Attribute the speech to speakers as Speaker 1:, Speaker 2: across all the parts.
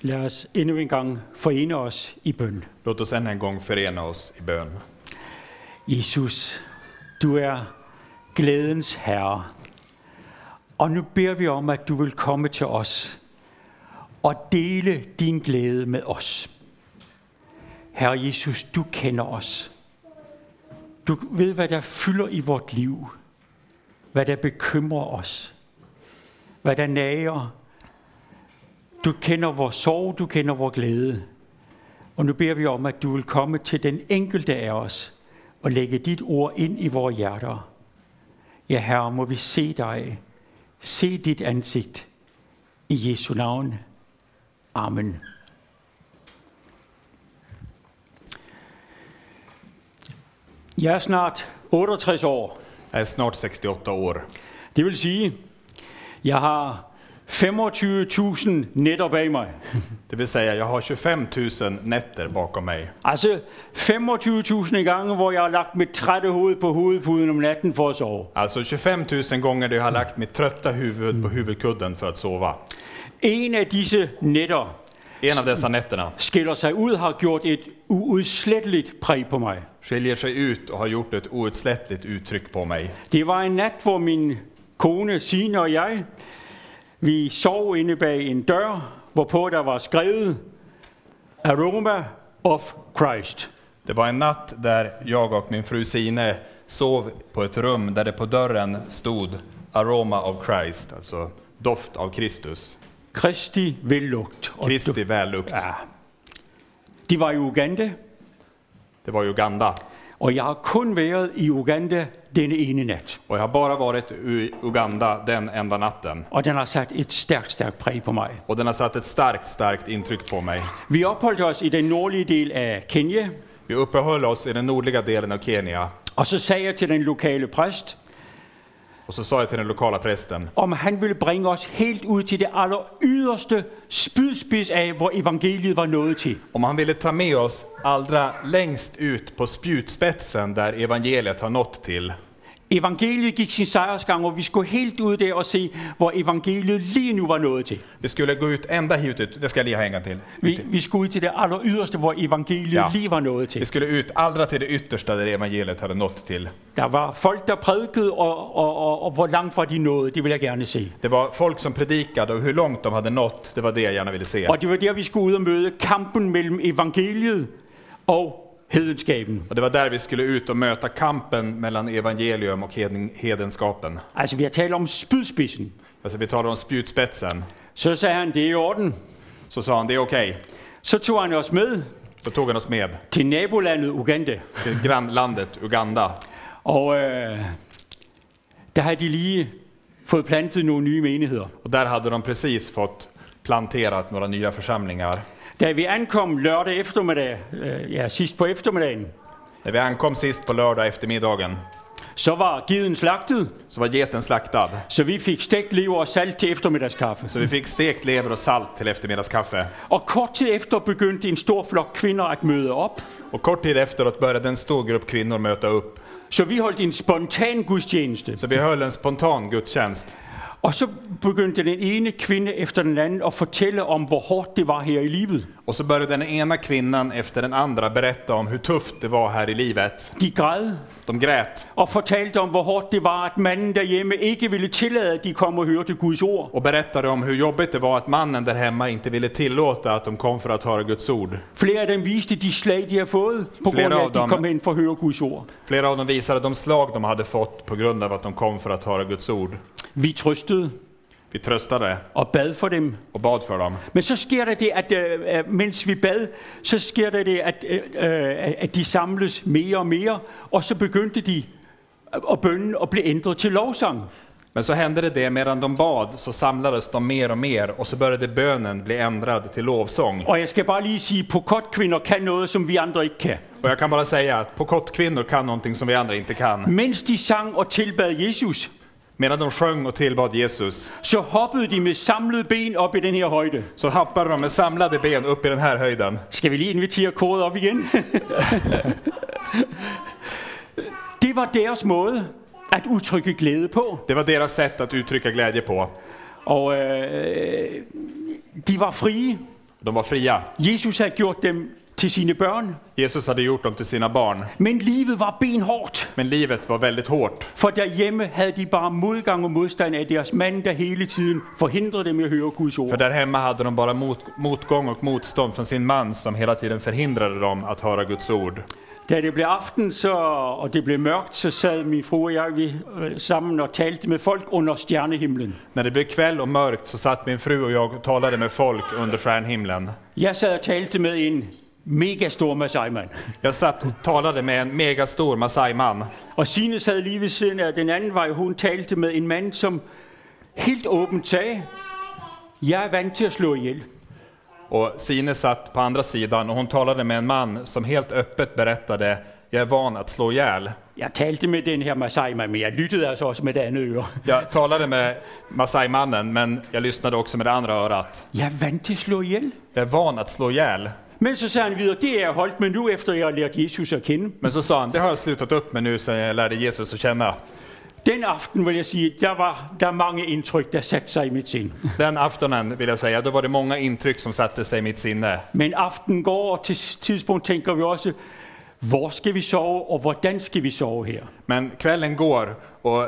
Speaker 1: Lad os endnu en gang forene os i bøn.
Speaker 2: Låt oss än en gång förena oss i bön.
Speaker 1: Jesus, du er glædens herre. Og nu beder vi om, at du vil komme til os og dele din glæde med os. Herre Jesus, du kender os. Du ved, hvad der fylder i vort liv. Hvad der bekymrer os. Hvad der nager. Du kender vores sorg, du kender vores glæde. Og nu beder vi om, at du vil komme til den enkelte af os og lægge dit ord ind i vores hjerter. Ja, Herre, må vi se dig. Se dit ansigt. I Jesu navn. Amen. Jeg er snart 68 år.
Speaker 2: Jag är snart 68 år.
Speaker 1: Det vil sige, jeg har 25.000 netter bag mig.
Speaker 2: Det vill säga, jag har 25 000 nätter bakom mig.
Speaker 1: Altså 25.000 gange, hvor jeg har lagt mit trætte hoved på hovedpuden om natten for at sove.
Speaker 2: Alltså 25 000 gånger där jag har lagt mitt trötta huvud på huvudkudden för att sova.
Speaker 1: En af disse netter
Speaker 2: En av dessa nätterna
Speaker 1: skiller sig ud har gjort et uudsletteligt præg på mig.
Speaker 2: skiljer sig ut och har gjort ett outslättligt uttryck på mig.
Speaker 1: Det var en nat, hvor min kone Signe og jeg, vi sov inde bag en dør, hvorpå der var skrevet Aroma of Christ.
Speaker 2: Det var en natt där jag och min fru Sine sov på ett rum där det på dörren stod Aroma of Christ, alltså doft av Kristus,
Speaker 1: Kristi vellugt. Og
Speaker 2: Kristi vällukt.
Speaker 1: de var i Uganda,
Speaker 2: Det var i Uganda.
Speaker 1: og jeg har kun været i Uganda denne ene nat.
Speaker 2: Och jag har bara varit i Uganda den enda natten.
Speaker 1: Og den har sat et stærkt, stærkt præg på mig.
Speaker 2: Och den har satt ett starkt, starkt intryck på mig.
Speaker 1: Vi opholdt os i den nordlige del af Kenya,
Speaker 2: Vi uppehöll oss i den nordliga delen av Kenya
Speaker 1: og så sagde jeg til den lokale præst,
Speaker 2: och så sa jag till den lokala prästen
Speaker 1: om han ville bringe os helt ud til det aller yderste spydspids af, hvor evangeliet var nået til.
Speaker 2: om han ville ta med oss allra längst ut på spjutspetsen där evangeliet har nått till.
Speaker 1: Evangeliet gik sin sejrsgang, og vi skulle helt ud der og se, hvor evangeliet lige nu var nået til.
Speaker 2: Det skulle gå ut ända hit ut, det ska jag lige ha en gång till.
Speaker 1: Vi, vi skulle ud til det aller yderste, hvor evangeliet ja.
Speaker 2: Ja.
Speaker 1: lige var nået til.
Speaker 2: Vi skulle ut allra till det yttersta där evangeliet hade nått till.
Speaker 1: Der var folk, der prædikede, og, og, og, og hvor langt var de nået, det ville jeg gerne se.
Speaker 2: Det var folk som predikade och hur långt de hade nått, det var det jag gärna ville se.
Speaker 1: Og det var der, vi skulle ud og møde kampen mellem evangeliet og hedenskaben.
Speaker 2: Och det var där vi skulle ut och möta kampen mellan evangelium och heden- hedenskapen.
Speaker 1: Altså, vi har talt om spydspidsen.
Speaker 2: Alltså vi talar om spjutspetsen.
Speaker 1: Så sagde han, det er i orden.
Speaker 2: Så sa han, det är okej.
Speaker 1: Så tog han os med
Speaker 2: Så tog han oss med
Speaker 1: til nabolandet Uganda.
Speaker 2: till grannlandet Uganda.
Speaker 1: Og øh, der havde de lige fået plantet nogle nye menigheder.
Speaker 2: Och där hade de precis fått planterat några nya församlingar.
Speaker 1: Da vi ankom lørdag eftermiddag, øh, ja sidst på eftermiddagen,
Speaker 2: När vi ankom sist på lördag eftermiddagen
Speaker 1: så var giden slagtet,
Speaker 2: så var geten slaktad.
Speaker 1: så vi fik stegt lever og salt til eftermiddagskaffe.
Speaker 2: Så vi fick stekt lever och salt till eftermiddagskaffe.
Speaker 1: Og kort tid efter begyndte en stor flok kvinder at møde op,
Speaker 2: Och kort tid efteråt började en stor grupp kvinnor möta upp.
Speaker 1: så vi holdt en spontan gudstjeneste.
Speaker 2: Så vi höll en spontan gudstjänst.
Speaker 1: Og så begyndte den ene kvinde efter den anden at fortælle om, hvor hårdt det var her i livet.
Speaker 2: Och så började den ena kvinnan efter den andra berätta om hur tufft det var här i livet.
Speaker 1: De græd,
Speaker 2: De grät
Speaker 1: og fortalte om, hvor hårdt det var, at manden derhjemme ikke ville tillade, at de kom og hørte Guds ord,
Speaker 2: och berättade om hur jobbigt det var att mannen där hemma inte ville tillåta att de kom för att höra Guds ord.
Speaker 1: Flere af dem viste de slag, de har fået, på
Speaker 2: Flere
Speaker 1: grund af,
Speaker 2: af
Speaker 1: at de
Speaker 2: dem-
Speaker 1: kom hen for at høre Guds ord.
Speaker 2: Flera av dem visade de slag de hade fått på grund av att de kom för att höra Guds ord.
Speaker 1: Vi trøstede
Speaker 2: Vi tröstade
Speaker 1: og bad for dem.
Speaker 2: och bad för dem.
Speaker 1: Men så sker der det, at øh, øh, mens vi bad, så sker der det, at, øh, øh, at de samles mere og mere, og så begyndte de og bønnen og blev ændret til lovsang.
Speaker 2: Men så hände det det, medan de bad så samlades de mer og mer och så började bönen bli ändrad till lovsång.
Speaker 1: Og jeg skal bare lige sige, at kvinder kan noget, som vi andre ikke kan.
Speaker 2: Och jag kan bara säga att pokottkvinnor kan någonting som vi andra inte kan.
Speaker 1: Mens de sang og tilbad Jesus,
Speaker 2: Medan de sjöng och tillbad Jesus
Speaker 1: så hoppede de med samlede ben op i den her højde.
Speaker 2: så hoppade de med samlade ben upp i den här höjden.
Speaker 1: Skal vi lige invitere koret op igen? det var deres måde at udtrykke glæde på.
Speaker 2: Det var deras sätt att uttrycka glädje på.
Speaker 1: Og øh, de var frie,
Speaker 2: De var fria.
Speaker 1: Jesus havde gjort dem til sine børn,
Speaker 2: Jesus hade gjort dem till sina barn.
Speaker 1: men livet var benhårdt.
Speaker 2: Men livet var väldigt hårt.
Speaker 1: For derhjemme havde de bare modgang og modstand af deres mand, der hele tiden forhindrede dem i at høre Guds
Speaker 2: För
Speaker 1: ord.
Speaker 2: där hemma hade de bara mot, motgång och motstånd från sin man som hela tiden förhindrade dem att höra Guds ord.
Speaker 1: Da det blev aften, så, og det blev mørkt, så sad min fru og jeg vi, øh, sammen og talte med folk under stjernehimlen.
Speaker 2: När det blev kväll och mörkt så satt min fru och jag och talade med folk under stjärnhimlen.
Speaker 1: Jeg sad og talte med en mega stor masajmand.
Speaker 2: Jag satt och talade med en megastor masai-man.
Speaker 1: Og Sine sad lige ved siden af den anden vej. Hun talte med en mand, som helt åbent sagde, jeg er vant til at slå ihjel.
Speaker 2: Och Sine satt på andra sidan och hon talade med en man som helt öppet berättade jag är van att slå ihjäl.
Speaker 1: Jeg talte med den her Masai, men jeg lyttede altså også med det andet øre.
Speaker 2: Jag talade med Masai-mannen men jag lyssnade også med det andra örat.
Speaker 1: Jeg er vant til at slå ihjel.
Speaker 2: Jag är van att slå ihjäl.
Speaker 1: Men så sagde han videre, det er jeg holdt med nu, efter jeg har lært Jesus at kende.
Speaker 2: Men så sa han, det har jag slutat upp med nu sen jag lärde Jesus att känna.
Speaker 1: Den aften, vil jeg sige, der var der mange indtryk, der satte sig i mit sind.
Speaker 2: Den aftonen vill jag säga, då var det många intryck som satte sig i mitt sinne.
Speaker 1: Men aften går, og til tidspunkt tænker vi også, hvor skal vi sove, og hvordan skal vi sove her?
Speaker 2: Men kvällen går och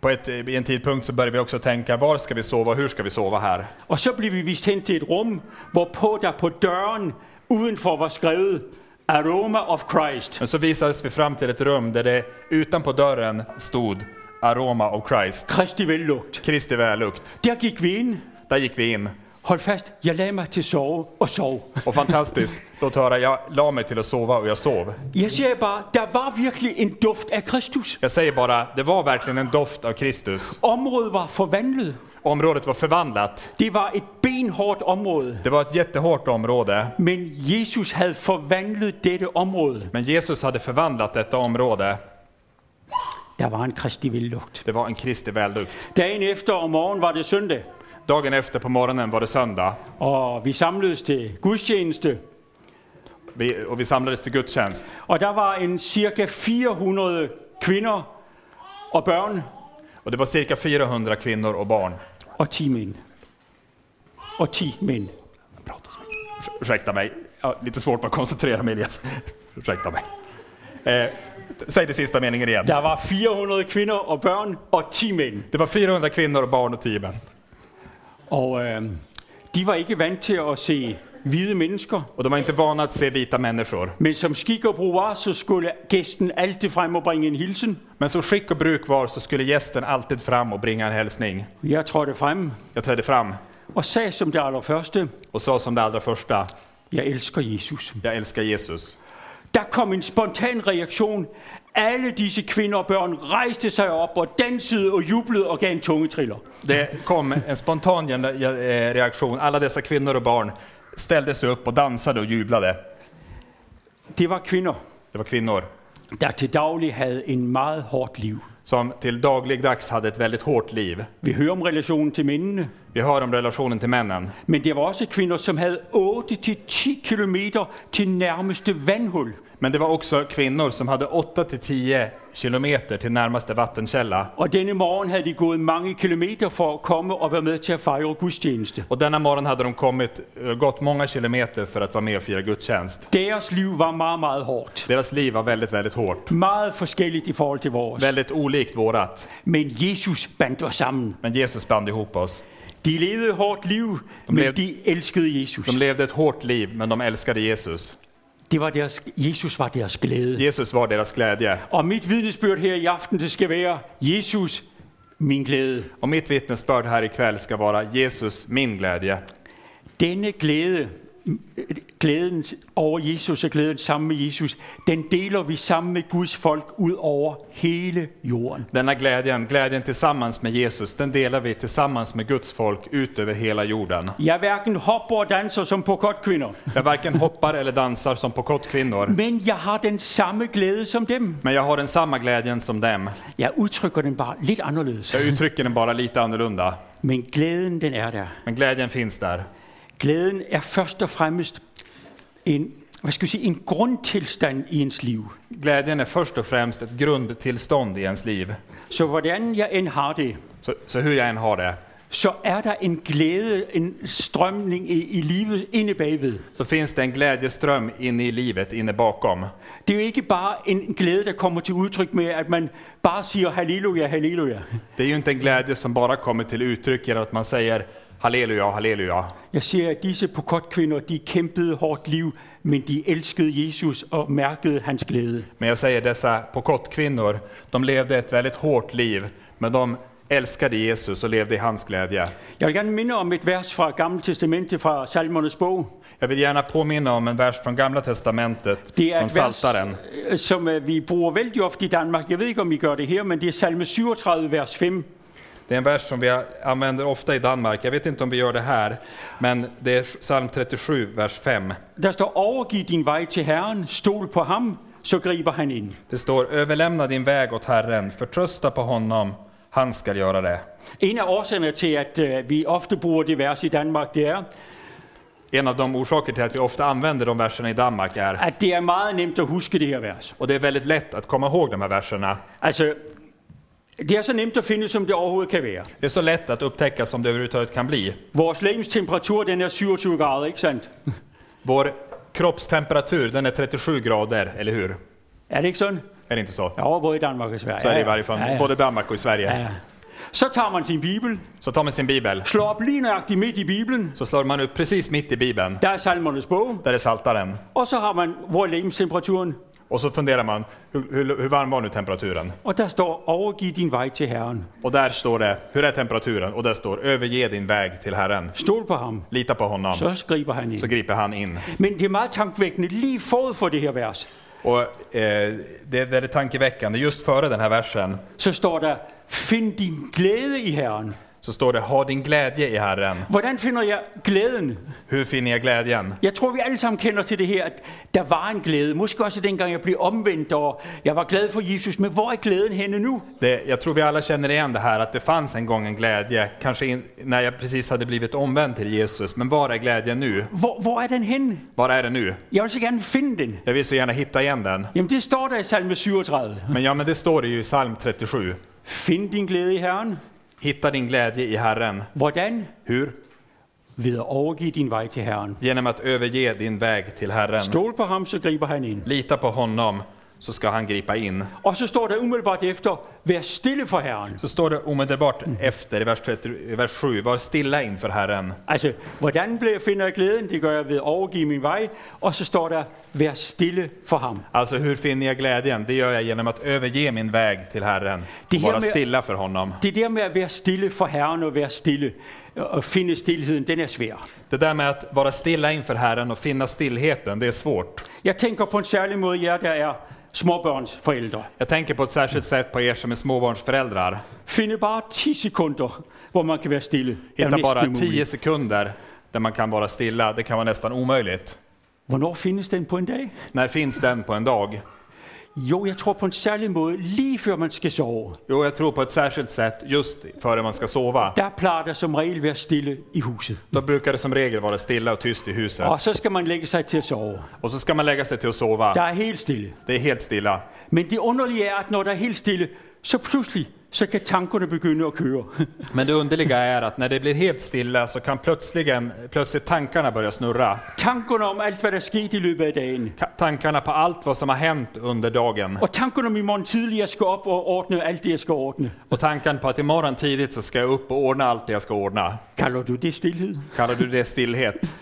Speaker 2: på ett, i en tidpunkt så börjar vi också tänka, var ska vi sova och hur ska vi sova här?
Speaker 1: Og så blev vi vist hen til et rum, hvorpå der på døren udenfor var skrevet Aroma of Christ.
Speaker 2: Men så visades vi fram till ett rum där det utanpå dörren stod Aroma of Christ,
Speaker 1: Kristi vellugt.
Speaker 2: Kristi vällukt.
Speaker 1: Der gik vi ind.
Speaker 2: Där gick vi in.
Speaker 1: Hold fast, jeg lagde mig til at sove og sov.
Speaker 2: Och fantastiskt, låt höra, jag la mig till att sova och jag sov.
Speaker 1: Jeg siger bare, der var virkelig en duft af Kristus.
Speaker 2: Jag säger bara, det var verkligen en doft av Kristus.
Speaker 1: Området var forvandlet.
Speaker 2: Området var förvandlat.
Speaker 1: Det var et benhårdt område.
Speaker 2: Det var ett jättehårt område.
Speaker 1: Men Jesus havde forvandlet dette område.
Speaker 2: Men Jesus hade förvandlat detta område.
Speaker 1: Der var en Kristi vellugt.
Speaker 2: Det var en Kristi vällukt.
Speaker 1: Dagen efter om morgenen var det søndag,
Speaker 2: Dagen efter på morgonen var det söndag
Speaker 1: og vi samledes til gudstjeneste.
Speaker 2: vi, och vi samlades till gudstjänst.
Speaker 1: Og der var en cirka 400 kvinder og børn
Speaker 2: Och det var cirka 400 kvinnor och barn.
Speaker 1: og 10 mænd. Og 10 mænd.
Speaker 2: Urs- Ursäkta mig, ja, lite svårt att koncentrera mig Elias. Ursäkta mig. Eh, t- säg det sista meningen igen.
Speaker 1: Der var 400 kvinder og børn och 10 mænd.
Speaker 2: Det var 400 kvinnor och barn och tio män.
Speaker 1: Og øh, de var ikke vant til at se hvide mennesker.
Speaker 2: Och de var inte vana att se vita människor.
Speaker 1: Men som skik og brug var, så skulle gæsten altid frem og bringe en hilsen.
Speaker 2: Men som skick och bruk var så skulle gästen alltid fram och bringa en hälsning.
Speaker 1: Jeg trådte frem
Speaker 2: Jag trädde fram
Speaker 1: og sagde som det allerførste,
Speaker 2: och sa som det allra första,
Speaker 1: jeg elsker Jesus.
Speaker 2: jag älskar Jesus.
Speaker 1: Der kom en spontan reaktion. Alle disse kvinder og børn rejste sig op og dansede og jublede og gav en tungetriller.
Speaker 2: Det kom en spontan gen- eh, reaktion. Alla dessa kvinnor och barn ställde sig upp och dansade och jublade.
Speaker 1: Det var kvinder,
Speaker 2: Det var kvinnor
Speaker 1: der til daglig havde en meget hårdt liv.
Speaker 2: som till dagligdags hade ett väldigt hårt liv.
Speaker 1: Vi hører om relationen til mændene,
Speaker 2: Vi hör om relationen till männen.
Speaker 1: men det var også kvinder, som havde 8-10 km til nærmeste vandhul.
Speaker 2: Men det var också kvinnor som hade 8 till 10 kilometer till närmaste vattenkälla.
Speaker 1: Og denne morgen havde de gået mange kilometer for at komme og være med til at fejre gudstjeneste.
Speaker 2: Och denna morgon hade de kommit, eh, gått många kilometer för att vara med och fira gudstjänst.
Speaker 1: Deres liv var meget, meget hårdt.
Speaker 2: Deras liv var väldigt, väldigt hårt.
Speaker 1: Meget forskelligt i forhold til vores.
Speaker 2: Väldigt olikt vårat.
Speaker 1: Men Jesus bandt os sammen.
Speaker 2: Men Jesus band ihop oss.
Speaker 1: De levede et hårdt liv,
Speaker 2: blev-
Speaker 1: men de elskede Jesus.
Speaker 2: De levde ett hårt liv, men de älskade Jesus.
Speaker 1: Det var deres, Jesus var deres glæde.
Speaker 2: Jesus var deras glädje.
Speaker 1: Og mit vidnesbyrd her i aften, det skal være, Jesus, min glæde.
Speaker 2: Och mitt vittnesbörd här ikväll ska vara Jesus, min glädje.
Speaker 1: Denne glæde, glæden over Jesus og glæden sammen med Jesus, den deler vi sammen med Guds folk ud over hele jorden.
Speaker 2: Denna glädjen, glädjen tillsammans med Jesus, den delar vi tillsammans med Guds folk ut över hela jorden.
Speaker 1: Jeg hverken hopper og danser som på kvinder,
Speaker 2: Jag varken hoppar eller dansar som pokottkvinnor,
Speaker 1: men jeg har den samme glæde som dem.
Speaker 2: men jeg har den samma glädjen som dem.
Speaker 1: Jeg udtrykker den bare lidt anderledes,
Speaker 2: Jag uttrycker den bara lite annorlunda.
Speaker 1: men glæden den er der.
Speaker 2: Men glädjen finns där.
Speaker 1: Glæden er først og fremmest en, hvad skal vi sige, en grundtilstand i ens liv.
Speaker 2: Glädjen är först och främst ett grundtillstånd i ens liv.
Speaker 1: Så hvordan jeg end har det,
Speaker 2: Så, så hur jag än har det,
Speaker 1: så er der en glæde, en strømning i, i livet inde bagved.
Speaker 2: så finns det en glädjeström inne i livet, inne bakom.
Speaker 1: Det er jo ikke bare en glæde, der kommer til udtryk med, at man bare siger halleluja, halleluja.
Speaker 2: Det är ju inte en glädje som bara kommer till uttryck genom att man säger halleluja, halleluja.
Speaker 1: Jeg siger, at disse pokotkvinder, de kæmpede hårdt liv, men de elskede Jesus og mærkede hans glæde.
Speaker 2: Men jag säger dessa pocottkvinnor, de levde ett väldigt hårt liv, men de älskade Jesus och levde i hans glädje.
Speaker 1: Jeg vil gerne minde om et vers fra Gamle Testamentet fra Salmernes bog.
Speaker 2: Jag vill gärna påminna om en vers från Gamla Testamentet,
Speaker 1: Det er
Speaker 2: från
Speaker 1: et vers,
Speaker 2: Saltaren.
Speaker 1: øh, som øh, vi bruger vældig ofte i Danmark. Jeg ved ikke, om I gør det her, men det er Salme 37, vers 5.
Speaker 2: Det är en vers som vi använder ofta i Danmark. Jag vet inte om vi gör det här, men det är psalm 37, vers 5.
Speaker 1: Der står, overgiv din vej til Herren, stol på ham, så griber han ind.
Speaker 2: Det står överlämna din väg åt Herren, förtrösta på honom, han skall göra det.
Speaker 1: En af årsagerne til, at øh, vi ofte bruger det vers i Danmark, det er,
Speaker 2: En av de orsaker till att vi ofta använder de verserna i Danmark är,
Speaker 1: at det er meget nemt at huske det her vers.
Speaker 2: och det är väldigt lätt att komma ihåg de här verserna.
Speaker 1: Altså, det er så nemt at finde, som det overhovedet kan være.
Speaker 2: Det är så lätt att upptäcka som det överhuvudtaget kan bli.
Speaker 1: Vores lægens temperatur, den er 27 grader, ikke sandt?
Speaker 2: Vår kroppstemperatur, den är 37 grader, eller hur?
Speaker 1: Er det ikke sådan?
Speaker 2: Är det inte så?
Speaker 1: Ja, både i Danmark og Sverige.
Speaker 2: Så är det i
Speaker 1: Ja, ja.
Speaker 2: varje fall,
Speaker 1: Ja, ja.
Speaker 2: både i Danmark och i
Speaker 1: Ja,
Speaker 2: Sverige.
Speaker 1: ja. Så tager man sin bibel,
Speaker 2: Så tar man sin bibel,
Speaker 1: slår op lige nøjagtigt midt i bibelen,
Speaker 2: så slår man upp precis mitt i bibeln,
Speaker 1: der er salmernes bog,
Speaker 2: där är saltaren.
Speaker 1: og så har man, hvor er lægemstemperaturen?
Speaker 2: Och så funderar man, hur, hur, hur varm var nu temperaturen?
Speaker 1: Og der står, overgiv din vej til Herren.
Speaker 2: Och där står det, hur är temperaturen? Och där står, överge din väg till Herren.
Speaker 1: Stol på ham,
Speaker 2: Lita på honom, så,
Speaker 1: så griber han ind.
Speaker 2: griper han in.
Speaker 1: Men det er meget tankevækkende lige forud for det her vers.
Speaker 2: Och eh, det är väldigt tankeväckande, just före den här versen
Speaker 1: Så står der, find din glæde i Herren.
Speaker 2: så står det, ha din glädje i Herren.
Speaker 1: Hvordan finder jeg glæden?
Speaker 2: Hur finner jag glädjen?
Speaker 1: Jeg tror, vi alle sammen kender til det her, at der var en glæde. Måske också dengang jeg blev omvendt, og jeg var glad for Jesus. Men hvor er glæden henne nu?
Speaker 2: Det, jag tror vi alla känner igen det här att det fanns en gång en glädje, kanske in, när jag precis hade blivit omvänd till Jesus. Men var är glädjen nu?
Speaker 1: Hvor, hvor er den henne?
Speaker 2: Var är den nu?
Speaker 1: Jeg vil så gerne finde den.
Speaker 2: Jag vill så gärna hitta igen den.
Speaker 1: Jamen det står der i salme 37.
Speaker 2: Men ja, men det står det ju i psalm 37.
Speaker 1: Find din glæde i Herren.
Speaker 2: Hitta din glädje i Herren.
Speaker 1: Hvordan?
Speaker 2: Hur?
Speaker 1: Ved at overgive din vej til Herren.
Speaker 2: Genom att överge din väg till Herren.
Speaker 1: Stol på ham, så griber han ind.
Speaker 2: Lita på honom, så ska han gripa in.
Speaker 1: Og så står der umiddelbart efter, vær stille for Herren.
Speaker 2: Så står det omedelbart efter i vers, 30, i vers 7, var stilla inför Herren.
Speaker 1: Altså, hvordan bliver jeg finder jeg glæden? Det gør jeg ved at overgive min vej. Og så står der, vær stille for ham.
Speaker 2: Alltså hur finner jag glädjen? Det gör jag genom att överge min väg till Herren.
Speaker 1: Det
Speaker 2: Och
Speaker 1: här
Speaker 2: vara
Speaker 1: med-
Speaker 2: stilla för honom.
Speaker 1: Det der med at være stille for Herren og være stille øh, og finde stillheden, den er svær.
Speaker 2: Det där med att vara stilla inför Herren och finna stillheten, det är svårt.
Speaker 1: Jeg tænker på en særlig måde jer, der er småbørnsforældre.
Speaker 2: Jag tänker på ett särskilt sätt på er som är småbarnsföräldrar.
Speaker 1: Finde bare 10 sekunder, hvor man kan være stille. er jo
Speaker 2: Hitta
Speaker 1: næsten
Speaker 2: bara
Speaker 1: umuligt.
Speaker 2: 10 sekunder där man kan vara stilla, det kan vara nästan omöjligt.
Speaker 1: Hvornår findes den på en dag?
Speaker 2: När finns den på en dag?
Speaker 1: Jo, jeg tror på en særlig måde, lige før man skal sove,
Speaker 2: Jo, jeg tror på ett särskilt sätt just före man ska sova.
Speaker 1: der plejer der som regel være stille i huset.
Speaker 2: Då brukar det som regel vara stilla och tyst i huset.
Speaker 1: Og så skal man lægge sig til at sove.
Speaker 2: Och så ska man lägga sig till att sova.
Speaker 1: Der er helt stille.
Speaker 2: Det är helt stilla.
Speaker 1: Men det underlige er, at når der er helt stille, så pludselig så kan tankerne begynde at køre.
Speaker 2: Men det underliga är att när det blir helt stilla så kan plötsligen, plötsligt tankarna börja snurra.
Speaker 1: tankerne om alt, hvad der skete i løbet af dagen.
Speaker 2: Ka- Tankarna på allt vad som har hänt under dagen.
Speaker 1: Og tanken om i morgen tidlig, jeg skal op og ordne alt det, jeg skal ordne.
Speaker 2: Och tanken på att imorgon tidigt så ska jag upp och ordna allt det jag ska ordna.
Speaker 1: Kalder du det stillhed?
Speaker 2: Kallar du det stillhet?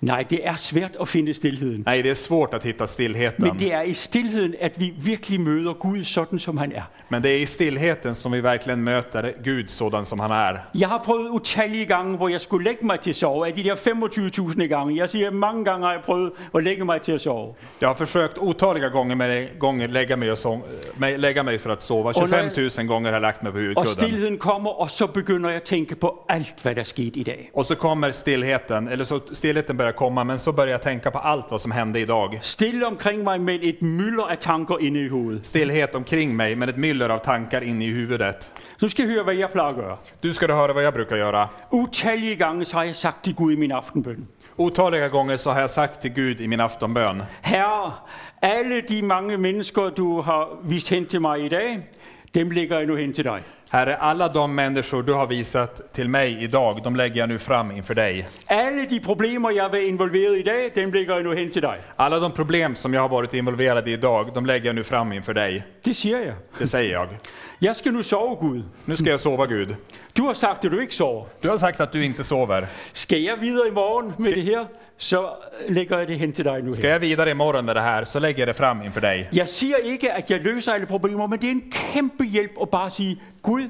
Speaker 1: Nej, det er svært at finde stillheden.
Speaker 2: Nej, det är svårt att hitta stillheten.
Speaker 1: Men det er i stillheden, at vi virkelig møder Gud sådan, som han er.
Speaker 2: Men det är i stillheten som vi verkligen möter Gud sådan som han är.
Speaker 1: Jeg har prøvet utallige gange, hvor jeg skulle lægge mig til at sove. Af de der 25.000 gange. Jeg siger, mange gange har jeg prøvet at lægge mig til at sove.
Speaker 2: Jag har försökt otaliga gånger, med, gånger lägga, mig och som, mig, lägga mig för att sova. 25 000 gånger har jag lagt mig på
Speaker 1: Og
Speaker 2: huvudkudden.
Speaker 1: stillheden kommer, og så begynder jeg at tænke på alt, hvad der skete i dag.
Speaker 2: Och så kommer stillheten, eller så stillheten börjar komma, men så börjar jeg tänka på allt vad som hände idag.
Speaker 1: Stille omkring mig, men et mylder af tanker inde i hovedet.
Speaker 2: Stillhet omkring mig, men ett myller av tankar inne i huvudet.
Speaker 1: Nu skal jeg høre, hvad jeg plejer at gøre.
Speaker 2: Du ska du höra vad jag brukar göra.
Speaker 1: Utallige gange så har jeg sagt til Gud i min aftenbøn.
Speaker 2: Otaliga gånger så har jag sagt till Gud i min aftonbön.
Speaker 1: Herre, alle de mange mennesker, du har vist hen til mig i dag, Dem lægger jeg nu hen til dig.
Speaker 2: Herre, alla de människor du har visat till mig idag, de lägger jag nu fram inför dig.
Speaker 1: Alle de problemer, jeg har været involveret i dag, dem lægger jeg nu hen til dig.
Speaker 2: Alla de problem som jag har varit involverad i idag, de lägger jag nu fram inför dig.
Speaker 1: Det siger jeg.
Speaker 2: Det säger jag.
Speaker 1: Jeg skal nu sove, Gud.
Speaker 2: Nu ska jag sova Gud.
Speaker 1: Du har sagt, at du ikke sover.
Speaker 2: Du har sagt att du inte sover.
Speaker 1: Skal jeg videre i morgen med det her, så lægger jeg det hen til dig nu.
Speaker 2: Ska
Speaker 1: Her.
Speaker 2: jag vidare imorgon med det här så lägger jag det fram inför dig.
Speaker 1: Jeg siger ikke, at jeg løser alle problemer, men det er en kæmpe hjælp at bare sige, Gud,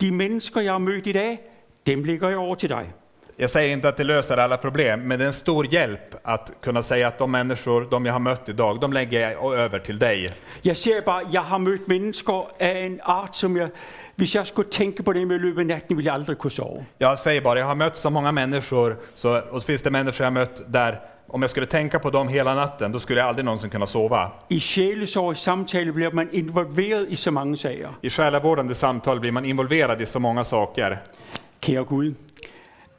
Speaker 1: de mennesker, jeg har mødt i dag, dem lægger jeg over til dig.
Speaker 2: Jag säger inte att det löser alla problem, men det är en stor hjälp att kunna säga att de människor, de jag har mött idag, de lägger jag över till dig.
Speaker 1: Jeg ser bare, jeg har mødt mennesker af en art, som jeg, hvis jeg skulle tænke på dem i løbet af natten, ville jeg aldrig kunne sove.
Speaker 2: Jag säger bara, jag har mött så många människor, så, och så finns det människor jag har mött där, om jag skulle tänka på dem hela natten, då skulle jag aldrig någonsin kunna sova.
Speaker 1: I sjælesorg i samtale bliver man involveret i så mange sager.
Speaker 2: I själavårdande samtal blir man involverad i så många saker.
Speaker 1: Kære Gud,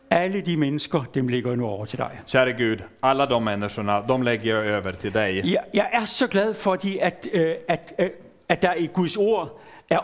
Speaker 1: alle de mennesker, dem lægger jeg nu over til dig.
Speaker 2: Käre Gud, alla de människorna, de lägger jag över till dig.
Speaker 1: Jeg, jeg er så glad fordi, at, øh, at, øh, at der i Guds ord er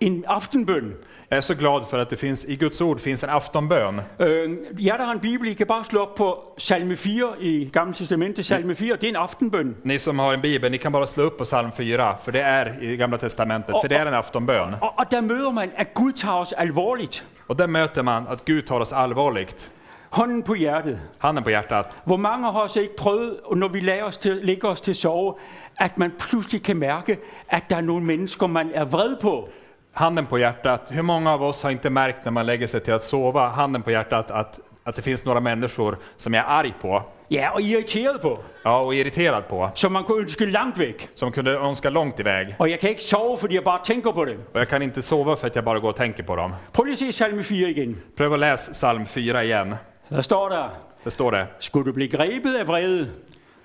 Speaker 1: en aftenbøn.
Speaker 2: Jag är så glad för att det finns, i Guds ord finns en aftonbön.
Speaker 1: Øh, jer, der har en bibel, I kan bare slå op på salme 4 i Gamle Testamentet. Salme 4, det er en aftenbøn.
Speaker 2: Ni som har en bibel, ni kan bara slå upp på psalm 4, för det är i Gamla Testamentet, för det är en aftonbön.
Speaker 1: Og, og der møder man, at Gud tager os alvorligt.
Speaker 2: Och där möter man att Gud tar oss allvarligt,
Speaker 1: Hånden på hjertet.
Speaker 2: handen på hjärtat.
Speaker 1: Hvor mange har os ikke prøvet, når vi lader os til, lægger os til sove, at man pludselig kan mærke, at der er nogle mennesker, man er vred på.
Speaker 2: Handen på hjärtat, hur många av oss har inte märkt när man lägger sig till att sova, handen på hjärtat, att, att det finns några människor som jag är arg på,
Speaker 1: Ja, og irriteret på.
Speaker 2: ja, och irriterad på,
Speaker 1: Som man kunne ønske langt væk.
Speaker 2: som kunde önska långt iväg.
Speaker 1: Og jeg kan ikke sove, fordi jeg bare tänker på det.
Speaker 2: Och jag kan inte sova för att jag bara går och tänker på dem.
Speaker 1: Prøv lige at se salme 4 igen.
Speaker 2: Pröva att läsa psalm 4 igen.
Speaker 1: Der står der,
Speaker 2: Det står det.
Speaker 1: skulle du blive grebet af vrede,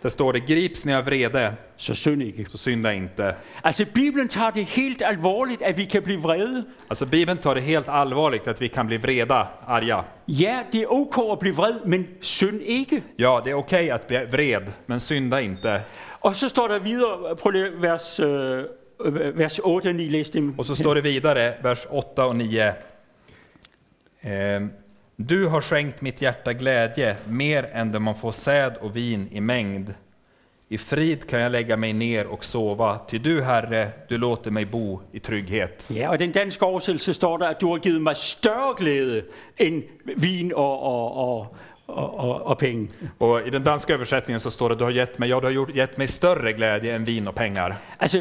Speaker 2: Det står det, grips ni av vrede,
Speaker 1: så synd ikke.
Speaker 2: så synda inte.
Speaker 1: Altså, Bibelen tager det helt alvorligt, at vi kan blive vrede.
Speaker 2: Alltså Bibeln tar det helt allvarligt att vi kan bli vreda, arga.
Speaker 1: Ja, det er ok at blive vred, men synd ikke.
Speaker 2: Ja, det är okej att bli vred, men synda inte.
Speaker 1: Og så står der videre, prøv lige at vers, øh, øh, vers 8 og 9, læs dem.
Speaker 2: Och så står det vidare, vers 8 och 9. Ehm, Du har skänkt mitt hjärta glädje mer än det man får säd och vin i mängd. I frid kan jag lägga mig ner och sova, ty du, Herre, du låter mig bo i trygghet.
Speaker 1: Ja, og i den danske oversættelse står der, at du har givet mig større glæde end vin og, og, og, og, og, og penge.
Speaker 2: Och I den danska översättningen så står det du har gett mig, ja, du har gjort, gett mig större glädje än vin och pengar.
Speaker 1: Altså,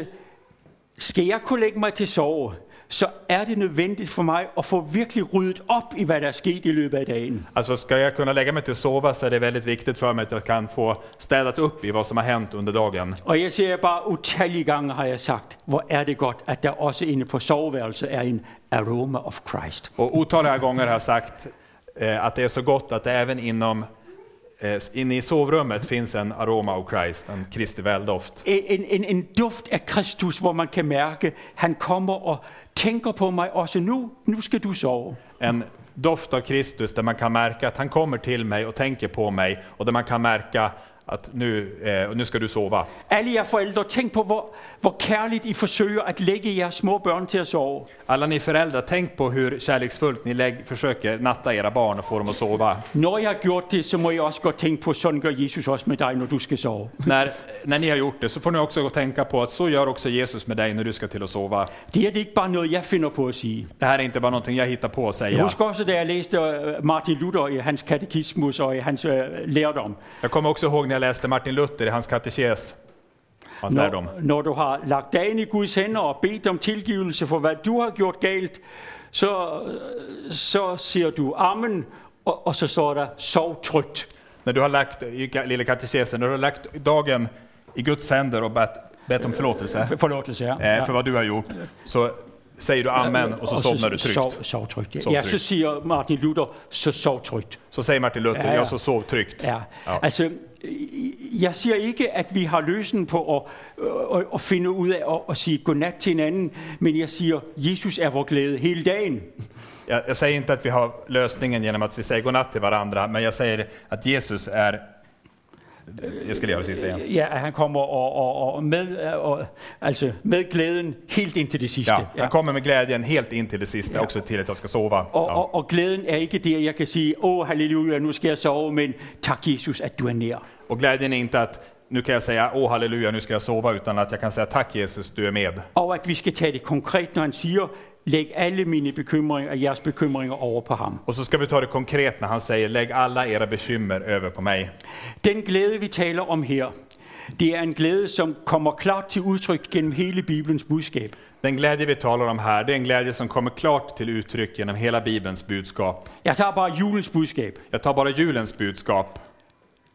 Speaker 1: skal jeg kunne lægge mig til sove, så er det nødvendigt for mig at få virkelig ryddet op i, hvad der er sket i løbet af dagen.
Speaker 2: Alltså ska jag kunna lägga mig till att sova så är det väldigt viktigt för mig att jag kan få städat upp i vad som har hänt under dagen.
Speaker 1: Og jeg ser bare utallige gange har jeg sagt, hvor er det godt, at der også inde på soveværelset er en aroma of Christ.
Speaker 2: Och otaliga gånger har jag sagt eh, att det är så gott att det även inom eh, inne i sovrummet finns en aroma av Christ, en Kristi väldoft.
Speaker 1: En, en, en duft af Kristus, hvor man kan mærke, han kommer og tænker på mig også nu. Nu skal du sove.
Speaker 2: En doft av Kristus där man kan märka att han kommer till mig och tänker på mig och där man kan märka att nu, eh, nu ska du sova.
Speaker 1: Alle jer forældre, tænk på, hvor, hvor kærligt I forsøger at lægge jeres små børn til at sove.
Speaker 2: Alla ni föräldrar, tänk på hur kärleksfullt ni lägg, försöker natta era barn och få dem att sova.
Speaker 1: Når jeg har gjort det, så må jeg også godt tænke på, sådan gør Jesus også med dig, når du skal sove.
Speaker 2: När, när ni har gjort det så får ni också gå och tänka på att så gör också Jesus med dig när du ska till att sova.
Speaker 1: Det her det er ikke bare noget, jeg finder på at sige.
Speaker 2: Det här är inte bara någonting jeg hittar på att
Speaker 1: Jeg
Speaker 2: säga.
Speaker 1: husker også, da jeg læste øh, Martin Luther i hans katekismus og i hans øh, lærdom.
Speaker 2: Jag kommer också ihåg när jag läste Martin Luther i hans katekes. Hans lärdom.
Speaker 1: Når, når du har lagt dagen i Guds hænder og bedt om tilgivelse for, hvad du har gjort galt, så, øh, så siger du amen, og, og så står der, sov trygt.
Speaker 2: När du har lagt, i ka- lilla katekesen, när du har lagt dagen i Guds händer og bett, bett om förlåtelse
Speaker 1: Forlåtelse, ja.
Speaker 2: eh, för vad du har gjort, så säger du amen och så somnar du
Speaker 1: Sov,
Speaker 2: tryggt.
Speaker 1: sov trygt, ja.
Speaker 2: Sov
Speaker 1: ja, så
Speaker 2: trygt.
Speaker 1: siger Martin Luther, så sov trygt.
Speaker 2: Så säger Martin
Speaker 1: Ja,
Speaker 2: Luther,
Speaker 1: ja.
Speaker 2: jag så sov tryggt.
Speaker 1: Ja,
Speaker 2: Ja.
Speaker 1: altså, øh, jeg siger ikke, at vi har løsen på at, øh, at, at finde ud af at, at sige godnat til hinanden, men jeg siger, Jesus er vor glæde hele dagen.
Speaker 2: Jag, jag säger inte att vi har lösningen genom att vi säger godnatt till varandra, men jag säger att Jesus är Jeg skal lige holde sidst igen.
Speaker 1: Ja, at han kommer og, og, og med, og, altså med glæden helt indtil det sidste.
Speaker 2: Ja, han kommer med glädjen helt in till det sista, också till att jag ska sova.
Speaker 1: Og,
Speaker 2: Ja.
Speaker 1: og, og glæden er ikke der, jeg kan sige, åh halleluja, nu skal jeg sove, men tak Jesus, at du er nær.
Speaker 2: Och glädjen är inte att nu kan jag säga åh halleluja, nu ska jag sova, utan att jag kan säga tack Jesus, du är med.
Speaker 1: Og at vi skal tage det konkret, når han siger, læg alle mine bekymringer og jeres bekymringer over på ham.
Speaker 2: Och så ska vi ta det konkret när han säger lägg alla era bekymmer över på mig.
Speaker 1: Den glæde, vi taler om her, det er en glæde, som kommer klart til udtryk gennem hele Bibelens budskab.
Speaker 2: Den glädje vi talar om här, det är en glädje som kommer klart till uttryck genom hela Bibelns budskap.
Speaker 1: Jeg tager bare julens budskab.
Speaker 2: Jag tar bara julens budskap.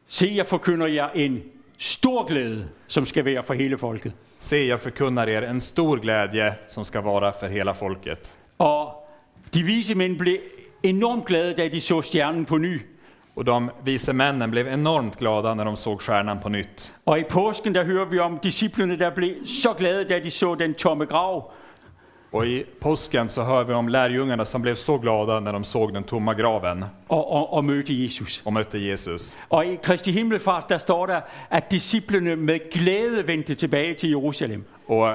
Speaker 1: Se, jeg forkynder jer en stor glæde, som skal være for hele folket.
Speaker 2: Se, jag förkunnar er en stor glädje som ska vara för hela folket.
Speaker 1: Og de vise mænd blev enormt glade, da de så stjernen på ny.
Speaker 2: Och de vise männen blev enormt glada när de såg stjärnan på nytt.
Speaker 1: Og i påsken, der hører vi om disciplene, der blev så glade, da de så den tomme grav.
Speaker 2: Och i påsken så hör vi om lärjungarna som blev så glada när de såg den tomma graven
Speaker 1: og, og, og mødte Jesus.
Speaker 2: och mötte Jesus.
Speaker 1: Og i Kristi Himmelfart, der står der, at disciplene med glæde vendte tilbage til Jerusalem.
Speaker 2: Och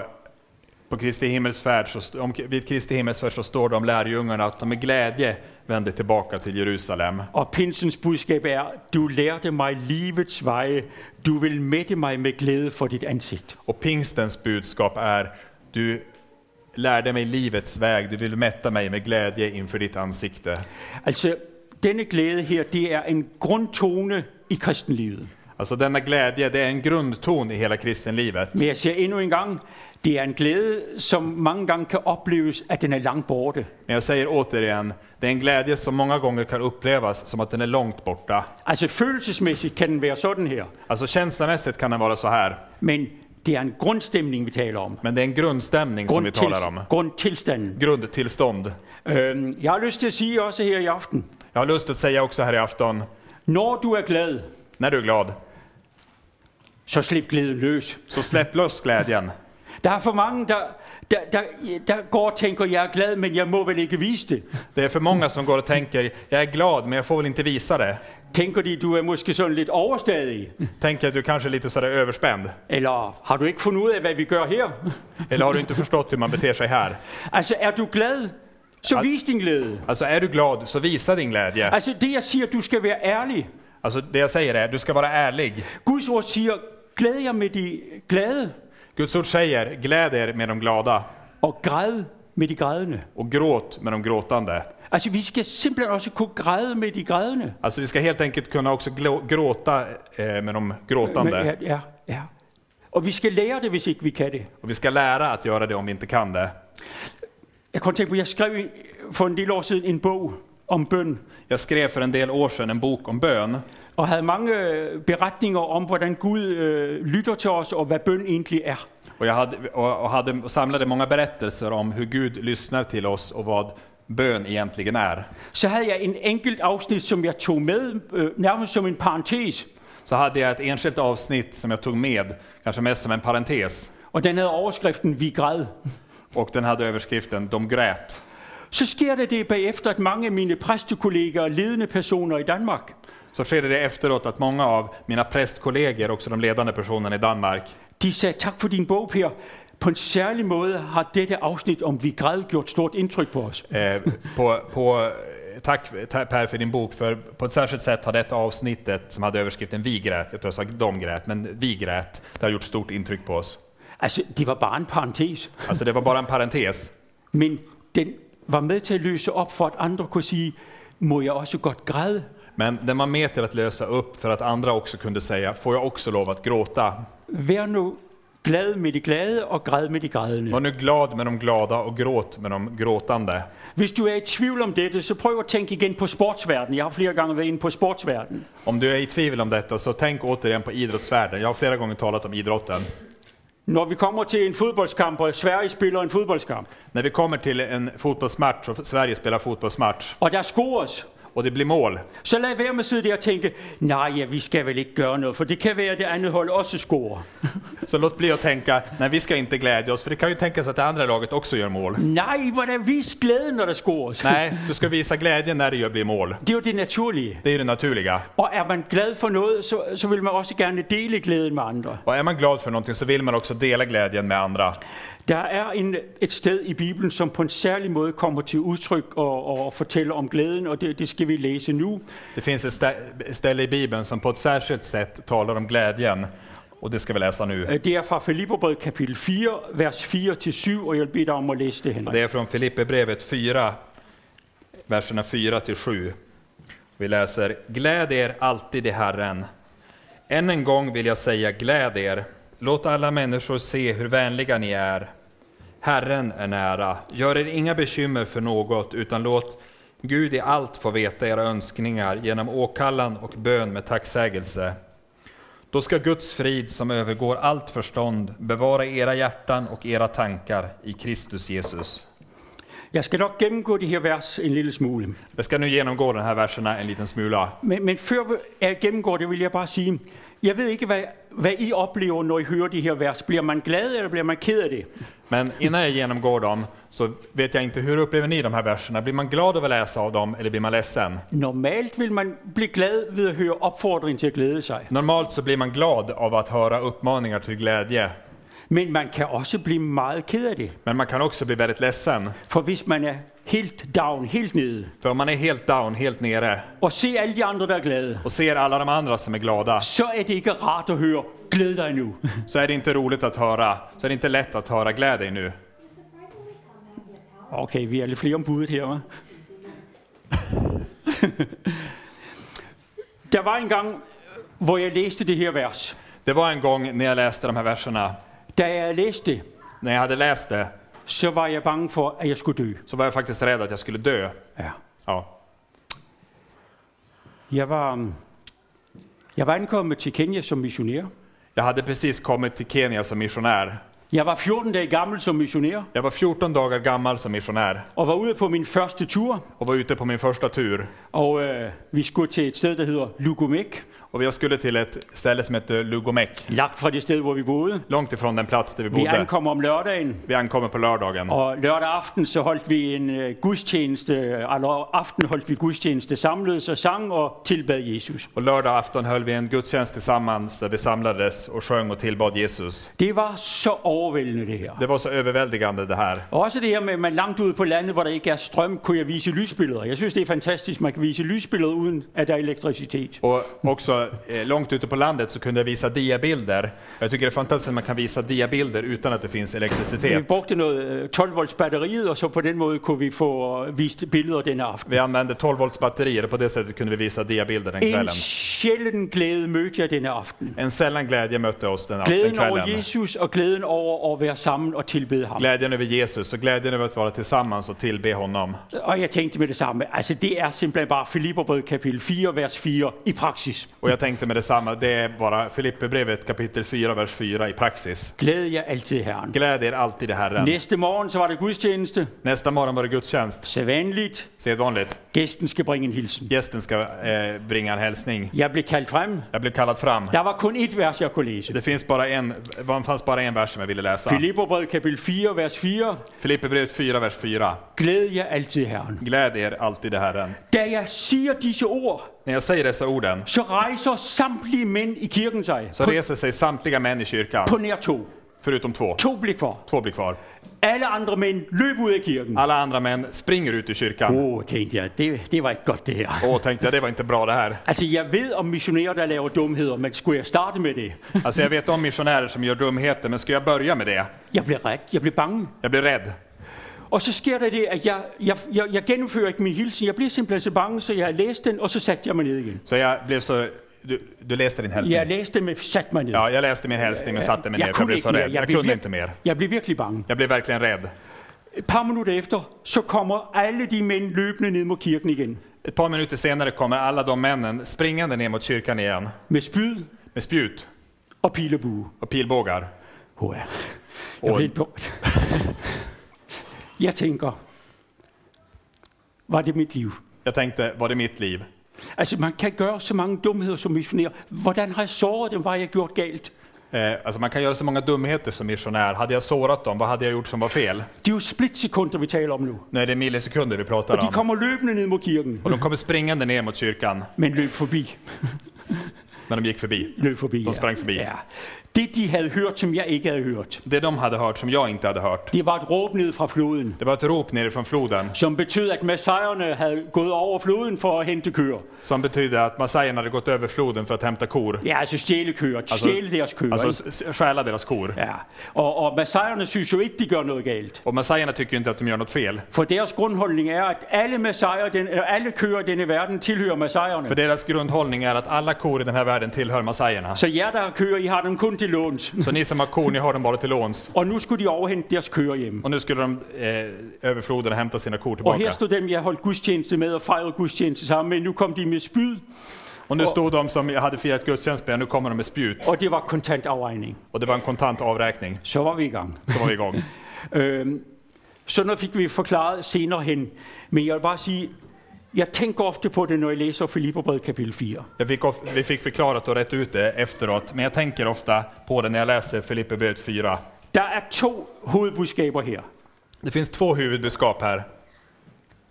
Speaker 2: på Kristi himmelsfärd så, st- om, vid Kristi himmelsfärd så står det om lärjungarna att de med glädje vände tillbaka till Jerusalem.
Speaker 1: Og pinsens budskab er, du lærte mig livets veje, du vil mætte mig med glæde for dit ansigt.
Speaker 2: Och pingstens budskap är, du lärde mig livets väg, du vill mätta mig med glädje inför ditt ansikte.
Speaker 1: Altså, denne glæde her, det er en grundtone i kristenlivet.
Speaker 2: Alltså denna glädje, det är en grundton i hela kristenlivet.
Speaker 1: Men jeg siger endnu en gang, det er en glæde, som mange gange kan opleves, at den er langt borte.
Speaker 2: Men jag säger återigen, det är en glädje som många gånger kan upplevas som att den är långt borta.
Speaker 1: Altså følelsesmæssigt kan den være sådan her,
Speaker 2: Alltså känslomässigt kan den vara så här,
Speaker 1: men det är en grundstemning, vi taler om.
Speaker 2: men det är en grundstämning som vi talar om.
Speaker 1: Grundtils- grundtilstanden.
Speaker 2: Grundtillstånd.
Speaker 1: Øhm, Jeg har lyst til at sige også her i aften,
Speaker 2: Jag har lust att säga också här i afton,
Speaker 1: når du er glad,
Speaker 2: när du är glad,
Speaker 1: så slip glæden løs.
Speaker 2: så släpp loss glädjen.
Speaker 1: Der er for mange, der, der, der, der går og tænker, jeg er glad, men jeg må vel ikke vise det.
Speaker 2: Det är för många som går och tänker, jag är glad men jag får väl inte visa det.
Speaker 1: Tænker de, du er måske sådan lidt overstadig,
Speaker 2: Tänker att du kanske är lite sådär överspänd.
Speaker 1: eller har du ikke fundet ud af, hvad vi gør her?
Speaker 2: Eller har du inte förstått hur man beter sig här?
Speaker 1: Altså, er du glad, så vis din glæde.
Speaker 2: Alltså är du glad så visa din glädje.
Speaker 1: Altså, det jeg siger, du skal være ærlig.
Speaker 2: Alltså det jeg säger är, du ska vara ärlig.
Speaker 1: Guds ord siger, glæd jer med de glade,
Speaker 2: Guds ord säger, gläd er med de glada
Speaker 1: og græd med de grædende.
Speaker 2: och gråt med de gråtande.
Speaker 1: Altså, vi skal simpelthen også kunne græde med de grædende.
Speaker 2: Alltså vi ska helt enkelt kunna också glå- gråta eh, med de gråtande.
Speaker 1: Men, ja, ja, ja. Og vi skal lære det, hvis ikke vi kan det.
Speaker 2: Och vi ska lära att göra det om vi inte kan det.
Speaker 1: Jeg kom tænke på, jeg skrev en- for en del år siden en bog om bøn,
Speaker 2: Jag skrev för en del år sedan en bok om bön
Speaker 1: og havde mange øh, beretninger om, hvordan Gud øh, lytter til os, og hvad bøn egentlig er.
Speaker 2: och jag hade, och, och hade, och samlade många berättelser om hur Gud lyssnar till oss och vad bön egentligen är.
Speaker 1: Så havde jeg en enkelt afsnit, som jeg tog med, øh, nærmest som en parentes,
Speaker 2: Så hade jag ett enskilt avsnitt som jag tog med, kanske mest som en parentes.
Speaker 1: og den havde overskriften, vi græd.
Speaker 2: Och den hade överskriften ”De grät”.
Speaker 1: Så sker det det bagefter, at mange af mine præstekolleger og ledende personer i Danmark,
Speaker 2: Så skedde det efteråt att många av mina prästkollegor, också de ledande personerna i Danmark,
Speaker 1: de sagde, tak for din bog, Per. På en særlig måde har dette afsnit om vi græd gjort stort indtryk på os.
Speaker 2: eh, på, på, eh, tack ta- Per för din bok, för på ett särskilt sätt har detta avsnittet som hade överskriften ”Vi grät”, jag tror jag sa ”De grät”, men ”Vi grät”, det har gjort stort intryck på oss.
Speaker 1: Altså, det var bare en parentes,
Speaker 2: Alltså det var bara en parentes,
Speaker 1: men den var med til at løse op for, at andre kunne sige, må jeg også godt græde?
Speaker 2: men den var med till att lösa upp för att andra också kunde säga ”Får jag också lov att gråta?”
Speaker 1: Vær nu glad med de glade og græd med de grædende.
Speaker 2: Var nu glad med de glada och gråt med de gråtande.
Speaker 1: Hvis du er i tvivl om dette, så prøv at tænke igen på sportsverdenen. Jeg har flere gange været inde på sportsverdenen.
Speaker 2: Om du är i tvivel om detta så tänk återigen på idrottsvärlden. Jag har flera gånger talat om idrotten.
Speaker 1: Når vi kommer til en fodboldskamp, og Sverige spiller en fodboldskamp,
Speaker 2: När vi kommer till en fotbollsmatch och Sverige spelar fotbollsmatch
Speaker 1: og der scores,
Speaker 2: och det blir mål.
Speaker 1: Så lad være med at sidde der og tænke, nej, ja, vi skal vel ikke gøre noget, for det kan være, at det andet hold også scorer.
Speaker 2: Så låt bli att tänka, nej vi ska inte glädja oss, för det kan ju tänkas att det andra laget också gör mål.
Speaker 1: Nej, hvordan vis glæden, når der scores.
Speaker 2: Nej, du ska visa glädje när det gör- blir mål.
Speaker 1: Det er jo det naturlige.
Speaker 2: Det är det naturliga.
Speaker 1: Og er man glad for noget, så, så vil man også gerne dele glæden med andre.
Speaker 2: Och är man glad för någonting så vill man også dela glädjen med andra.
Speaker 1: Der er en, et sted i Bibelen, som på en særlig måde kommer til udtryk og, og fortæller om glæden, og det, det skal vi læse nu.
Speaker 2: Det finns ett stä- ställe i Bibeln som på ett särskilt sätt talar om glädjen. Och det ska vi läsa nu.
Speaker 1: Øh, Det er fra Filipperbrevet kapitel 4, vers 4-7, och jeg vil bede dig om at læse det, Henrik.
Speaker 2: Det är från Filipperbrevet 4, verserna 4 till 7. Vi läser Gläd er alltid i Herren. Än en gång vill jag säga gläd er. Låt alla människor se hur vänliga ni är. Herren är nära. Gör er inga bekymmer för något, utan låt Gud i allt få veta era önskningar genom åkallan och bön med tacksägelse. Då ska Guds frid som övergår allt förstånd bevara era hjärtan og era tankar i Kristus Jesus.
Speaker 1: Jeg skal nok gennemgå de her vers en lille smule.
Speaker 2: Jag ska nu genomgå den här verserna en liten smula.
Speaker 1: Men, men før vi- jeg gennemgår det, vil jeg bare sige, jeg ved ikke, hvad, hvad I oplever, når I hører de her vers. Bliver man glad, eller bliver man ked af det?
Speaker 2: Men innan jag genomgår dem så vet jag inte hur upplever ni de här verserna? Blir man glad över att läsa av dem eller blir man ledsen?
Speaker 1: Normalt vil man blive glad ved at høre opfordringen til at glæde sig.
Speaker 2: Normalt så blir man glad av att höra uppmaningar till glädje,
Speaker 1: Men man kan også blive meget ked af det.
Speaker 2: men man kan också bli väldigt ledsen.
Speaker 1: For hvis man er helt down, helt nede,
Speaker 2: För om man är helt down, helt nere
Speaker 1: og ser alle de andre, der er glade,
Speaker 2: och ser alla de andra som är glada
Speaker 1: så er det ikke rart at høre, glæd dig nu.
Speaker 2: så är det inte roligt att höra, så är det inte lätt att höra gläd dig nu.
Speaker 3: It's surprisingly common in Nepal.
Speaker 1: Okay, vi er lidt flere om budet her, hva'? Der var en gang, hvor jeg læste det her vers.
Speaker 2: Det var en gång när jag läste de här verserna,
Speaker 1: Da jeg læste det,
Speaker 2: när jag hade läst det
Speaker 1: så var jeg bange for, at jeg skulle dø.
Speaker 2: så var jag faktiskt rädd att jag skulle dö.
Speaker 1: Ja.
Speaker 2: Ja.
Speaker 1: Jeg var, øhm, jeg var ankommet til Kenya som missionær.
Speaker 2: Jag hade precis kommit till Kenya som missionär.
Speaker 1: Jeg var 14 dage gammel som missionær,
Speaker 2: Jag var 14 dagar gammal som missionär
Speaker 1: og var ude på min første tur.
Speaker 2: och var ute på min första tur.
Speaker 1: Og øh, vi skulle til et sted, der hedder Lugumek,
Speaker 2: Och jag skulle till ett ställe som heter Lugomek,
Speaker 1: lagt fra det sted, hvor vi boede.
Speaker 2: långt ifrån den plats där
Speaker 1: Vi
Speaker 2: vi bodde.
Speaker 1: ankom om lørdagen,
Speaker 2: Vi ankommer på lördagen.
Speaker 1: og lørdag aften så holdt vi en øh, gudstjeneste, eller aften holdt vi gudstjeneste, samledes og sang og tilbad Jesus.
Speaker 2: Och lördag afton höll vi en gudstjänst tillsammans där vi samlades och sjöng och tillbad Jesus.
Speaker 1: Det var så overvældende det her.
Speaker 2: Det var så överväldigande det här.
Speaker 1: Og Også det her med, at man langt ude på landet, hvor der ikke er strøm, kunne jeg vise lysbilleder. Jeg synes, det er fantastisk, man kan vise lysbilleder, uden at der er elektricitet.
Speaker 2: Och också eh, långt ute på landet så kunde jag visa diabilder. Jag tycker det är fantastiskt att man kan visa diabilder utan att det finns
Speaker 1: Vi
Speaker 2: elektricitet.
Speaker 1: brugte noget 12 volts batteriet, og så på den måde kunne vi få øh, vist billeder den aften.
Speaker 2: Vi använde 12 volts batterier och på det sättet kunde vi visa diabilder den
Speaker 1: En
Speaker 2: kvällen.
Speaker 1: sjælden glæde mødte jeg denne aften.
Speaker 2: En sällan glädje mötte oss den, den
Speaker 1: Glæden over
Speaker 2: kvällen.
Speaker 1: Jesus og glæden over att være sammen og tilbede ham.
Speaker 2: Glädjen över Jesus och glädjen över att vara tillsammans och tillbe honom.
Speaker 1: Og jeg tænkte med det samme, altså det er simpelthen bare Filipperbrevet kapitel 4, vers 4 i praksis.
Speaker 2: Och jag tänkte med detsamma, det är bara Filipperbrevet kapitel 4, vers 4 i praxis.
Speaker 1: Glæd jer altid Herren.
Speaker 2: Gläd er alltid i Herren.
Speaker 1: Næste morgen så var der gudstjeneste.
Speaker 2: Nästa morgon var det gudstjänst,
Speaker 1: Sædvanligt.
Speaker 2: sedvanligt.
Speaker 1: Gæsten skal bringe en hilsen.
Speaker 2: Gästen ska eh, bringa en hälsning.
Speaker 1: Jeg blev kaldt frem.
Speaker 2: Jag blev kallad fram.
Speaker 1: Der var kun et vers, jeg kunne læse.
Speaker 2: Det finns bara en, det fanns bara en vers som jag ville läsa.
Speaker 1: Filipperbrevet kapitel 4, vers 4.
Speaker 2: Filipperbrevet 4, vers 4.
Speaker 1: Glæd jer altid Herren.
Speaker 2: Gläd er alltid i Herren.
Speaker 1: Da jeg siger disse ord,
Speaker 2: När jag säger dessa orden
Speaker 1: så rejser samtlige mænd i kirken sig
Speaker 2: så reser sig samtliga män i kyrkan,
Speaker 1: på nær to.
Speaker 2: förutom två.
Speaker 1: To blik for.
Speaker 2: Två blir kvar.
Speaker 1: Alle andre mænd løb ud af kirken.
Speaker 2: Alla andra män springer ut ur
Speaker 1: Åh,
Speaker 2: kyrkan.
Speaker 1: oh, tænkte jeg, det, det var ikke godt det her.
Speaker 2: Åh, tänkte jag, det var inte bra det här.
Speaker 1: Altså, jeg ved om missionærer, der laver dumheder, men skulle jeg starte med det?
Speaker 2: Alltså jag vet om missionärer som gör dumheter, men ska jag börja med det?
Speaker 1: Jeg blev ret, jeg blev bange.
Speaker 2: Jag blir rädd.
Speaker 1: Og så sker der det, at jeg, jeg, jeg, jeg gennemfører ikke min hilsen. Jag blev simpelthen så bange, så jeg læste den, og så satte jeg mig ned igen.
Speaker 2: Så jag blev så... Du, du läste din hälsning?
Speaker 1: Jeg læste den, men satte mig ned.
Speaker 2: Ja, jag läste min hälsning men satte mig ner
Speaker 1: jeg
Speaker 2: för jag
Speaker 1: kunne
Speaker 2: blev
Speaker 1: ikke
Speaker 2: så
Speaker 1: mere.
Speaker 2: rädd.
Speaker 1: Jeg
Speaker 2: Jag
Speaker 1: blev,
Speaker 2: kunde
Speaker 1: vir-
Speaker 2: inte mer.
Speaker 1: jeg blev virkelig bange.
Speaker 2: Jag blev verkligen rädd.
Speaker 1: Et par minutter efter, så kommer alle de mænd løbende ned mod kirken igen.
Speaker 2: Ett par minuter senare kommer alla de männen springande ner mot kyrkan igen
Speaker 1: Med spyd
Speaker 2: med spjut
Speaker 1: og pil og bue.
Speaker 2: och pilbågar.
Speaker 1: Åh ja. Jeg,
Speaker 2: Og-
Speaker 1: blev på. jeg tænker, var det mit liv?
Speaker 2: Jag tänkte, var det mitt liv?
Speaker 1: Altså, man kan gøre så mange dumheder som missionær. Hvordan har jeg såret dem? Hvad har jeg gjort galt?
Speaker 2: Eh, alltså man kan göra så många dumheter som missionär. Hade jag sårat dem, vad hade jag gjort som var fel?
Speaker 1: Det er jo splitsekunder, vi taler om nu.
Speaker 2: Nu är det millisekunder vi pratar
Speaker 1: Og de
Speaker 2: om.
Speaker 1: kommer løbende ned mod kirken.
Speaker 2: Och de kommer springande ner mot kyrkan,
Speaker 1: Men løb forbi.
Speaker 2: men de gick förbi.
Speaker 1: Løb forbi,
Speaker 2: De sprang forbi.
Speaker 1: Ja. Det, de havde hørt, som jeg ikke havde hørt,
Speaker 2: Det de hade hört som jag inte hade hört,
Speaker 1: det var et råb ned fra floden,
Speaker 2: det var ett rop nerifrån floden
Speaker 1: som betød, at messierne havde gået over floden for at hente køer.
Speaker 2: som betydde att massajerna hade gått över floden för att hämta kor.
Speaker 1: Ja, altså stjæle køer. stjæle deres køer.
Speaker 2: Alltså
Speaker 1: ikke?
Speaker 2: s- s- stjäla deras kor.
Speaker 1: Ja. Og, och messierne synes jo ikke, de gør noget galt.
Speaker 2: Och massajerna tycker ju inte att de gör något fel.
Speaker 1: For deres grundholdning er, at alle, messier, den, eller alle køer i denne verden tilhører messierne.
Speaker 2: För deras grundhållning är att alla kor i den här världen tillhör massajerna.
Speaker 1: Så jer, der har køer, I har dem kun til låns.
Speaker 2: Så ni som har kor, ni har dem bara till låns.
Speaker 1: Og nu skulle de overhente deres køer hjem.
Speaker 2: Och nu skulle de eh, över floden och hämta sina kor
Speaker 1: Og her
Speaker 2: tillbaka.
Speaker 1: stod dem, jeg holdt gudstjeneste med og fejrede gudstjeneste sammen med. Nu kom de med spyd,
Speaker 2: Och nu stod de som hade firat gudstjänst med, nu kommer de med spjut.
Speaker 1: og det var kontantafregning.
Speaker 2: Och det var en kontant avräkning.
Speaker 1: Så var vi i gang.
Speaker 2: Så var vi igång.
Speaker 1: Øhm, sådan noget fik vi forklaret senere hen. Men jeg vil bare sige, jeg tænker ofte på det, når jeg läser Filipperbrevet kapitel 4.
Speaker 2: Jag fick of- vi fick förklarat och rätt ut det efteråt, men jag tänker ofta på det när jag läser Filipperbrevet 4.
Speaker 1: Der er to hovedbudskaber her.
Speaker 2: Det finns två huvudbudskap här.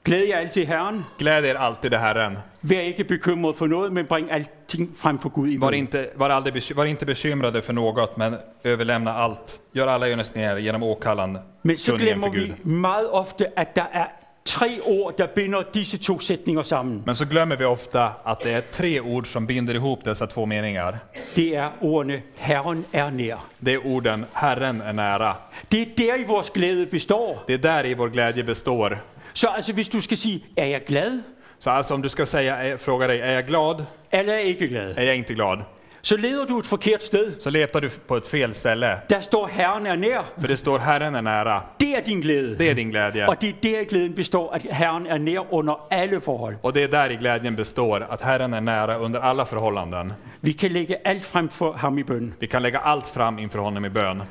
Speaker 1: Glæd jer altid Herren.
Speaker 2: Gläd er alltid i Herren.
Speaker 1: Vær ikke bekymret for noget, men bring alting frem for Gud i
Speaker 2: Var
Speaker 1: bøn.
Speaker 2: inte, var, aldrig, bekym- var inte bekymrade för något, men överlämna allt. Gör alla gärningar genom åkallan,
Speaker 1: Men så
Speaker 2: kunnigen
Speaker 1: glemmer
Speaker 2: för Gud.
Speaker 1: vi meget ofte, at der er tre ord, der binder disse to sætninger sammen.
Speaker 2: Men så glömmer vi ofta att det är tre ord som binder ihop dessa två meningar.
Speaker 1: Det er ordene, Herren er nær.
Speaker 2: Det är orden Herren är nära.
Speaker 1: Det er der, i vores glæde består.
Speaker 2: Det är där i vår glädje består.
Speaker 1: Så altså, hvis du skal sige, er jeg glad,
Speaker 2: Så alltså om du ska säga, är- fråga dig, är jag glad?
Speaker 1: eller er jeg ikke glad,
Speaker 2: Är jag inte glad?
Speaker 1: så leder du et forkert sted.
Speaker 2: Så letar du på ett fel ställe.
Speaker 1: Der står, Herren er nær.
Speaker 2: För det står Herren är nära.
Speaker 1: Det er din glæde.
Speaker 2: Det är din glädje.
Speaker 1: Og det er der, glæden består, at Herren er nær under alle forhold.
Speaker 2: Och det är där i glädjen består, att Herren är nära under alla förhållanden.
Speaker 1: Vi kan lægge alt frem for ham i bøn.
Speaker 2: Vi kan lägga allt fram inför honom i bön.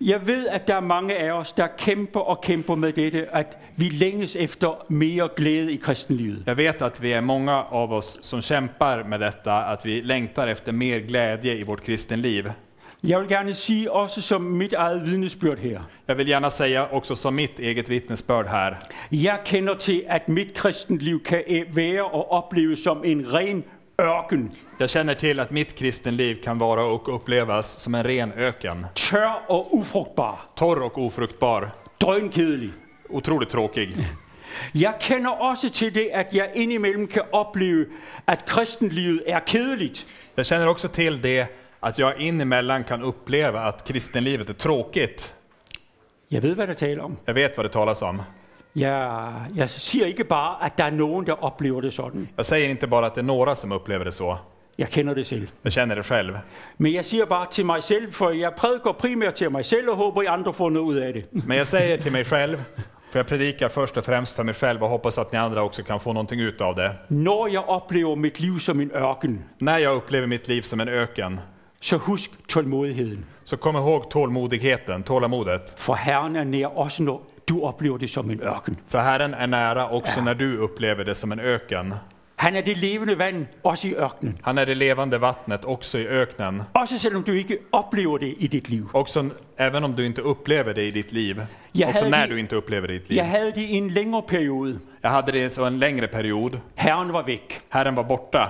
Speaker 1: Jeg ved, at der er mange af os, der kæmper og kæmper med dette, at vi længes efter mere glæde i kristenlivet.
Speaker 2: Jag vet att vi är många av oss som kämpar med detta, att vi längtar efter mer glädje i vårt kristenliv.
Speaker 1: Jeg vil gerne sige også som mit eget vidnesbyrd her.
Speaker 2: Jag vill gärna säga också som mitt eget vittnesbörd här.
Speaker 1: Jeg kender til, at mit kristenliv kan øh, være og opleves som en ren ørken.
Speaker 2: Jag känner till att mitt kristenliv kan vara och upplevas som en ren öken.
Speaker 1: Tør og ufrugtbar.
Speaker 2: Torr och ofruktbar.
Speaker 1: Drønkedelig.
Speaker 2: Otroligt tråkig.
Speaker 1: Jeg kender også til det, at jeg indimellem kan opleve, at kristenlivet er kedeligt.
Speaker 2: Jag känner också till det att jag inemellan kan uppleva att kristenlivet är tråkigt.
Speaker 1: Jeg ved, hvad der taler om.
Speaker 2: Jag vet vad det talas om.
Speaker 1: Jeg, jeg siger ikke bare, at der er nogen, der oplever det sådan.
Speaker 2: Jag säger inte bara att det är några som upplever det så.
Speaker 1: Jeg kender det selv.
Speaker 2: Jag känner det själv.
Speaker 1: Men jeg siger bare til mig selv, for jeg prædiker primært til mig selv og håber, at I andre får noget ud af det.
Speaker 2: Men jag säger till mig själv, för jag predikar först och främst för mig själv och hoppas att ni andra också kan få någonting ut av det.
Speaker 1: Når jeg oplever mit liv som en ørken,
Speaker 2: När jag upplever mitt liv som en öken,
Speaker 1: så husk tålmodigheden.
Speaker 2: så kom ihåg tålmodigheten, tålamodet.
Speaker 1: For Herren er nær også, når du oplever det som en ørken.
Speaker 2: För Herren är nära också när du upplever det som en öken.
Speaker 1: Han er det levende vand, også i ørkenen.
Speaker 2: Han är det levande vattnet också i öknen.
Speaker 1: Også selvom du ikke oplever det i dit liv.
Speaker 2: Också även om du inte upplever det i ditt liv.
Speaker 1: Jag
Speaker 2: också
Speaker 1: hade-
Speaker 2: när du inte upplever det i ditt liv.
Speaker 1: Jeg havde det i en længere periode.
Speaker 2: Jag hade det så en längre period.
Speaker 1: Herren var væk,
Speaker 2: Herren var borta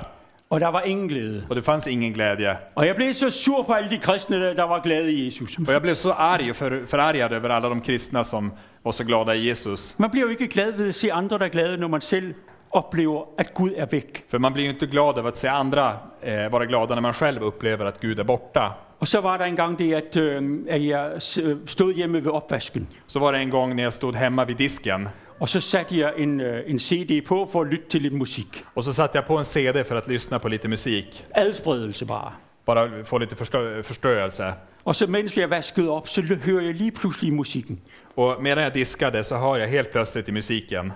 Speaker 1: og der var ingen glæde.
Speaker 2: och det fanns ingen glädje.
Speaker 1: Og jeg blev så sur på alle de kristne, der- der var glade i Jesus.
Speaker 2: Och jag blev så arg och för, förargad över alla de kristna som var så glada i Jesus.
Speaker 1: Man bliver jo ikke glad ved at se andre, der er glade, når man selv oplever, at Gud er væk.
Speaker 2: För man blir ju inte glad över att se andra eh, vara glada när man själv upplever att Gud är borta.
Speaker 1: Og så var der engang det, at, øh, at jeg s- øh, stod hjemme ved opvasken,
Speaker 2: Så var det en gång när jag stod hemma vid disken
Speaker 1: og så satte jeg en, øh, en CD på for at lytte til lidt musik.
Speaker 2: och så satte jeg på en CD för att lyssna på lite musik.
Speaker 1: Adspredelse bare.
Speaker 2: Bara få lite förstö- förstörelse.
Speaker 1: Og så mens jeg vaskede op, så l- hører jeg lige pludselig musikken.
Speaker 2: Och medan jag diskade så hör jeg helt plötsligt i musiken.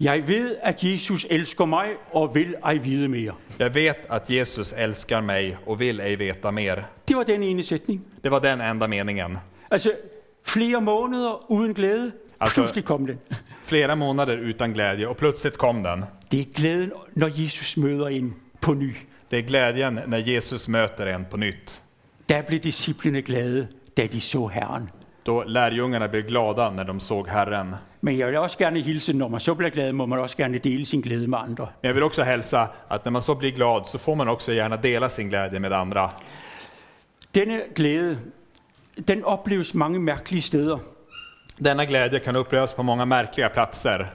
Speaker 1: Jeg ved, at Jesus elsker mig og vil ej vide mere.
Speaker 2: Jag vet att Jesus älskar mig och vill ej veta mer.
Speaker 1: Det var den ene sætning.
Speaker 2: Det var den enda meningen.
Speaker 1: Altså flere måneder uden glæde,
Speaker 2: Alltså
Speaker 1: Pludselig kom den.
Speaker 2: flera månader utan glädje och plötsligt kom den.
Speaker 1: Det er glæden, når Jesus møder en på ny.
Speaker 2: Det är glädjen när Jesus möter en på nytt.
Speaker 1: Der blev disciplene glade, da de så Herren.
Speaker 2: Då lärjungarna blev glada när de såg Herren. Men
Speaker 1: Men jeg vil også gerne hilse, når man så bliver glad, må man også gerne dele sin glæde med andre.
Speaker 2: jag vill också hälsa att när man så blir glad så får man också gärna dela sin glädje med andra.
Speaker 1: Denne glæde, den opleves mange mærkelige steder.
Speaker 2: Denna glädje kan upplevas på många märkliga platser.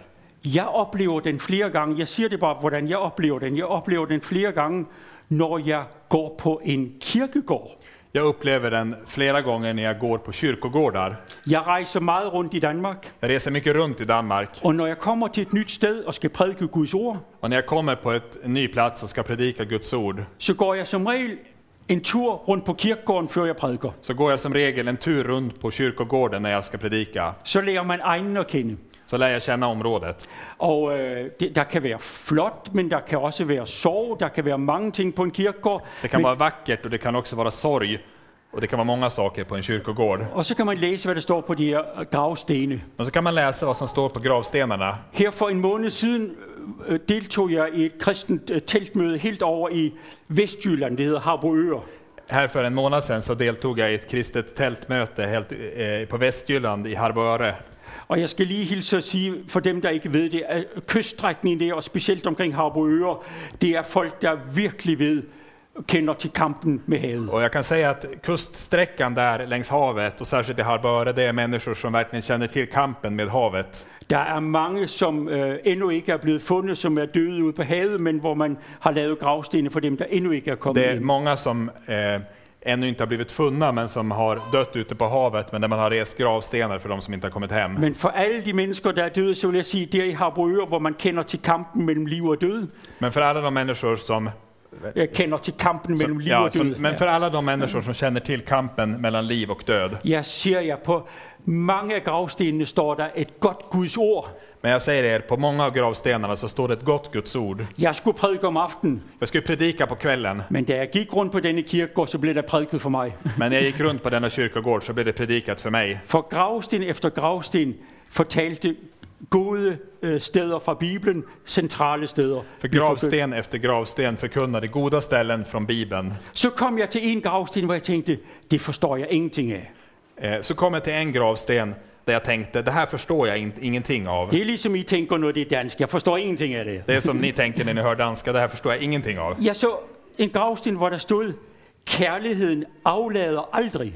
Speaker 1: Jeg oplever den flere gange. Jeg siger det bare, hvordan jeg oplever den. Jeg oplever den flere gange, når jeg går på en kirkegård.
Speaker 2: Jag upplever den flera gånger när jag går på kyrkogårdar.
Speaker 1: Jeg rejser meget rundt i Danmark,
Speaker 2: Jag reser mycket runt i Danmark
Speaker 1: og når jeg kommer till ett nytt sted och ska prædike Guds ord,
Speaker 2: och när jag kommer på ett, en ny plats och ska predika Guds ord
Speaker 1: så går jag som regel en tur rundt på kirkegården, før jeg prædiker.
Speaker 2: så går jag som regel en tur runt på kyrkogården när jag ska predika.
Speaker 1: Så lærer man egnen at kende.
Speaker 2: Så lär jag känna området.
Speaker 1: Og øh, det, der kan være flot, men der kan også være sorg, der kan være mange ting på en kirkegård.
Speaker 2: Det kan vara vackert och det kan också vara sorg och det kan vara många saker på en kyrkogård.
Speaker 1: Og så kan man læse, hvad der står på de her øh, gravstene.
Speaker 2: Men så kan man läsa vad som står på gravstenarna.
Speaker 1: Her for en måned siden øh, deltog jeg i et kristent øh, teltmøde helt over i Vestjylland, det hedder Harboøre.
Speaker 2: Här för en månad sedan så deltog jag i ett kristet tältmöte helt, eh, på Västjylland i Harboøre.
Speaker 1: Og jeg skal lige hilse og sige, for dem der ikke ved det, at øh, kyststrækningen der, og specielt omkring Harboøre, det er folk, der virkelig ved, kender til kampen med havet.
Speaker 2: Och jag kan säga att kuststräckan där längs havet och särskilt i Harboøre, det är människor som verkligen känner till kampen med havet.
Speaker 1: Der er mange, som øh, endnu ikke er blevet fundet, som er døde ude på havet, men hvor man har lavet gravstene for dem, der endnu ikke er kommet
Speaker 2: Det är
Speaker 1: ind.
Speaker 2: många som eh, ännu inte har blivit funna men som har dött ute på havet men där man har rest gravstenar för de som inte har kommit hem.
Speaker 1: Men for alle de mennesker, der er døde, så vil jeg sige, der i Harboøre, hvor man kender til kampen mellem liv og død,
Speaker 2: Men för alla de människor som
Speaker 1: jeg kender til kampen mellem
Speaker 2: som,
Speaker 1: liv
Speaker 2: ja,
Speaker 1: og
Speaker 2: som,
Speaker 1: død.
Speaker 2: men för alla de människor som känner till kampen mellan liv och död.
Speaker 1: Jeg ser jer på mange af gravstenene står der et godt Guds ord.
Speaker 2: Men jag säger er, på många av gravstenarna så står det ett gott Guds ord.
Speaker 1: Jeg skulle prædike om aftenen,
Speaker 2: Jag skulle predika på kvällen,
Speaker 1: men da jeg gik rundt på denne kirkegård, så blev der prædiket for mig.
Speaker 2: men när jag gick runt på denna kyrkogård så blev det predikat för mig.
Speaker 1: For gravsten efter gravsten fortalte gode øh, steder fra Bibelen, centrale steder.
Speaker 2: För gravsten efter gravsten förkunnade goda ställen från Bibeln.
Speaker 1: Så kom jeg til en gravsten, hvor jeg tænkte, det forstår jag ingenting af.
Speaker 2: Eh, Så kom jag till en gravsten där jag tänkte, det här förstår jag in- ingenting av.
Speaker 1: Det er ligesom I tænker, når det er dansk. Jeg forstår ingenting af det.
Speaker 2: Det är som ni tänker när ni hör danska, det här förstår jag ingenting av.
Speaker 1: Jeg så en gravsten, hvor der stod, kærligheden aflader aldrig.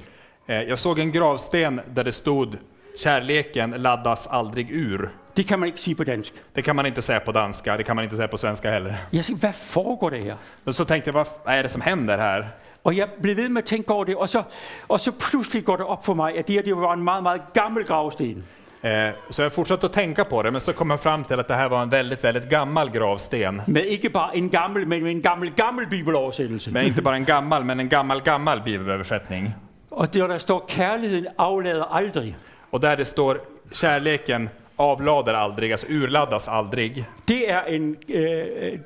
Speaker 2: Eh, Jag såg en gravsten där det stod, kärleken laddas aldrig ur.
Speaker 1: Det kan man ikke sige på dansk.
Speaker 2: Det kan man inte säga på danska, det kan man inte säga på svenska heller.
Speaker 1: Jeg sagde, hvad foregår der her?
Speaker 2: Men så tänkte jag, vad f- är det som händer här?
Speaker 1: Og jeg blev ved med at tænke over det, og så, og så pludselig går det op for mig, at det her det var en meget, meget gammel gravsten.
Speaker 2: Eh, Så jag fortsatte att tänka på det, men så kom jag fram till att det här var en väldigt, väldigt gammal gravsten.
Speaker 1: Med ikke bare en gammel, men med en gammel, gammel bibeloversættelse.
Speaker 2: Men inte bara en gammal, men en gammal, gammal bibelöversättning.
Speaker 1: Og der, der står, kærligheden aflader aldrig.
Speaker 2: Och där det står, kärleken avlader aldrig, alltså urladdas aldrig.
Speaker 1: Det er en, øh, øh,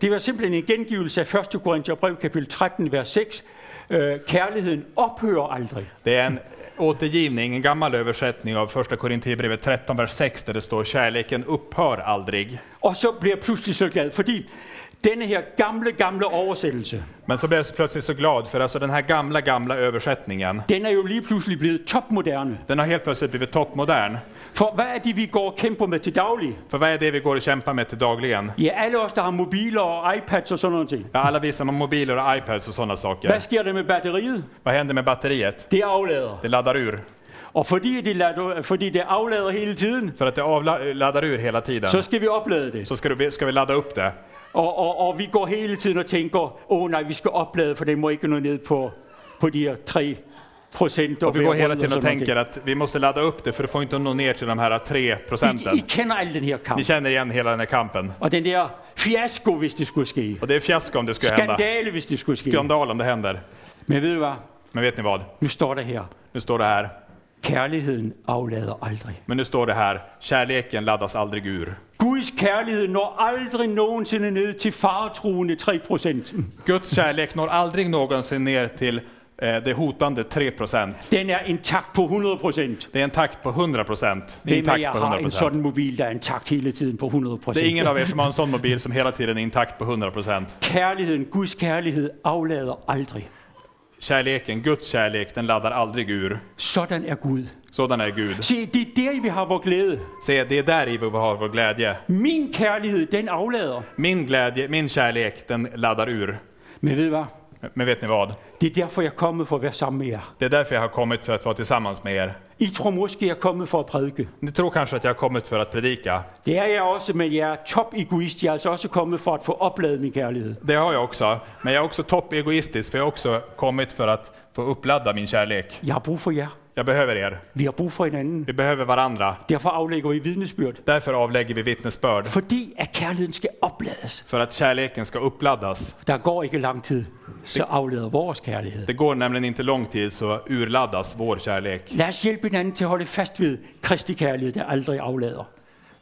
Speaker 1: det var simpelthen en gengivelse af 1. Korintherbrev kapitel 13, vers 6. Øh, kærligheden ophører aldrig.
Speaker 2: Det är en återgivning, en gammal översättning av första Korinthierbrevet 13, vers 6, där det står, kärleken upphör aldrig.
Speaker 1: Og så bliver jeg pludselig så glad, fordi denne her gamle, gamle oversættelse,
Speaker 2: Men så blev jag så plötsligt så glad, för alltså den här gamla, gamla översättningen,
Speaker 1: den er jo lige pludselig blevet topmoderne.
Speaker 2: den har helt plötsligt blivit toppmodern.
Speaker 1: For hvad er det, vi går og kæmper med til daglig?
Speaker 2: För vad är det vi går och kämpar med till dagligen?
Speaker 1: Ja, alle os, der har mobiler og iPads og sådan noget. ting.
Speaker 2: Ja, alla vi som har mobiler och iPads och sådana saker.
Speaker 1: Hvad sker der med batteriet?
Speaker 2: Vad händer med batteriet?
Speaker 1: Det aflader.
Speaker 2: Det laddar ur.
Speaker 1: Og fordi det, lader, fordi det aflader hele tiden,
Speaker 2: För att det avla- laddar ur hela tiden
Speaker 1: så
Speaker 2: så,
Speaker 1: skal vi oplade det.
Speaker 2: ska, du, ska vi ladda upp det.
Speaker 1: Og, og, og vi går hele tiden og tænker, åh oh, nej, vi skal oplade, for den må ikke nå ned på, på de her 3 procent.
Speaker 2: Och vi går hela tiden och tänker att vi måste ladda upp det för det får inte nå ner till de här 3
Speaker 1: I, I
Speaker 2: procenten.
Speaker 1: kender al den her
Speaker 2: Ni
Speaker 1: kamp.
Speaker 2: känner igen hela den här kampen.
Speaker 1: Og den der fiasko, hvis det skulle ske.
Speaker 2: Och det är fiasko om det skulle hända.
Speaker 1: Skandale, hvis det skulle ske.
Speaker 2: Skandal om det händer.
Speaker 1: Men ved du hvad?
Speaker 2: Men vet ni vad?
Speaker 1: Nu står der her.
Speaker 2: Nu står det här.
Speaker 1: Kærligheden aflader aldrig.
Speaker 2: Men nu står det här. Kärleken laddas aldrig ur.
Speaker 1: Guds kærlighed når aldrig nogensinde ned til faretruende 3 procent.
Speaker 2: Guds kärlek når aldrig någonsin ner till Eh, Det hotande 3 procent.
Speaker 1: Den er intakt på 100 procent.
Speaker 2: Det är en takt på 100 procent. Det
Speaker 1: Hvem
Speaker 2: är en
Speaker 1: af
Speaker 2: takt
Speaker 1: jer
Speaker 2: på
Speaker 1: har
Speaker 2: 100
Speaker 1: en
Speaker 2: procent.
Speaker 1: sådan mobil, der er intakt hele tiden på 100
Speaker 2: Det är ingen
Speaker 1: procent?
Speaker 2: av er som har en sån mobil som hela tiden är intakt på 100 procent.
Speaker 1: Kærligheden, Guds kærlighed, aflader aldrig.
Speaker 2: Kärleken, Guds kärlek, den laddar aldrig ur.
Speaker 1: Sådan er Gud.
Speaker 2: Sådan är Gud.
Speaker 1: Se, det er der, vi har vores glæde.
Speaker 2: Se, det är där i vi har vår glädje.
Speaker 1: Min kærlighed, den aflader.
Speaker 2: Min glädje, min kärlek, den laddar ur.
Speaker 1: Men ved I hvad?
Speaker 2: Men vet ni vad?
Speaker 1: Det er derfor, jeg er kommet for at være sammen med jer.
Speaker 2: Det är därför jag har kommit för att vara tillsammans med er.
Speaker 1: I tror måske, jeg er kommet for at prædike.
Speaker 2: Ni tror kanske att jag har kommit för att predika.
Speaker 1: Det er jeg også, men jeg er top egoist. Jeg er altså også kommet for at få opladet min kærlighed.
Speaker 2: Det har jag också. Men jeg är också toppegoistisk, för jag har också kommit för att få uppladda min kärlek.
Speaker 1: Jeg har brug for jer.
Speaker 2: Jag behöver er.
Speaker 1: Vi har brug for hinanden.
Speaker 2: Vi behöver varandra.
Speaker 1: Derfor aflægger I vidnesbyrd.
Speaker 2: Därför avlägger vi vittnesbörd.
Speaker 1: Fordi at kærligheden skal oplades.
Speaker 2: För att kärleken ska uppladdas.
Speaker 1: Der går ikke lang tid, så aflader vores kærlighed.
Speaker 2: Det går nämligen inte lång tid så urladdas vår kärlek.
Speaker 1: Lad os hjælpe hinanden til at holde fast ved Kristi kærlighed, der aldrig aflader.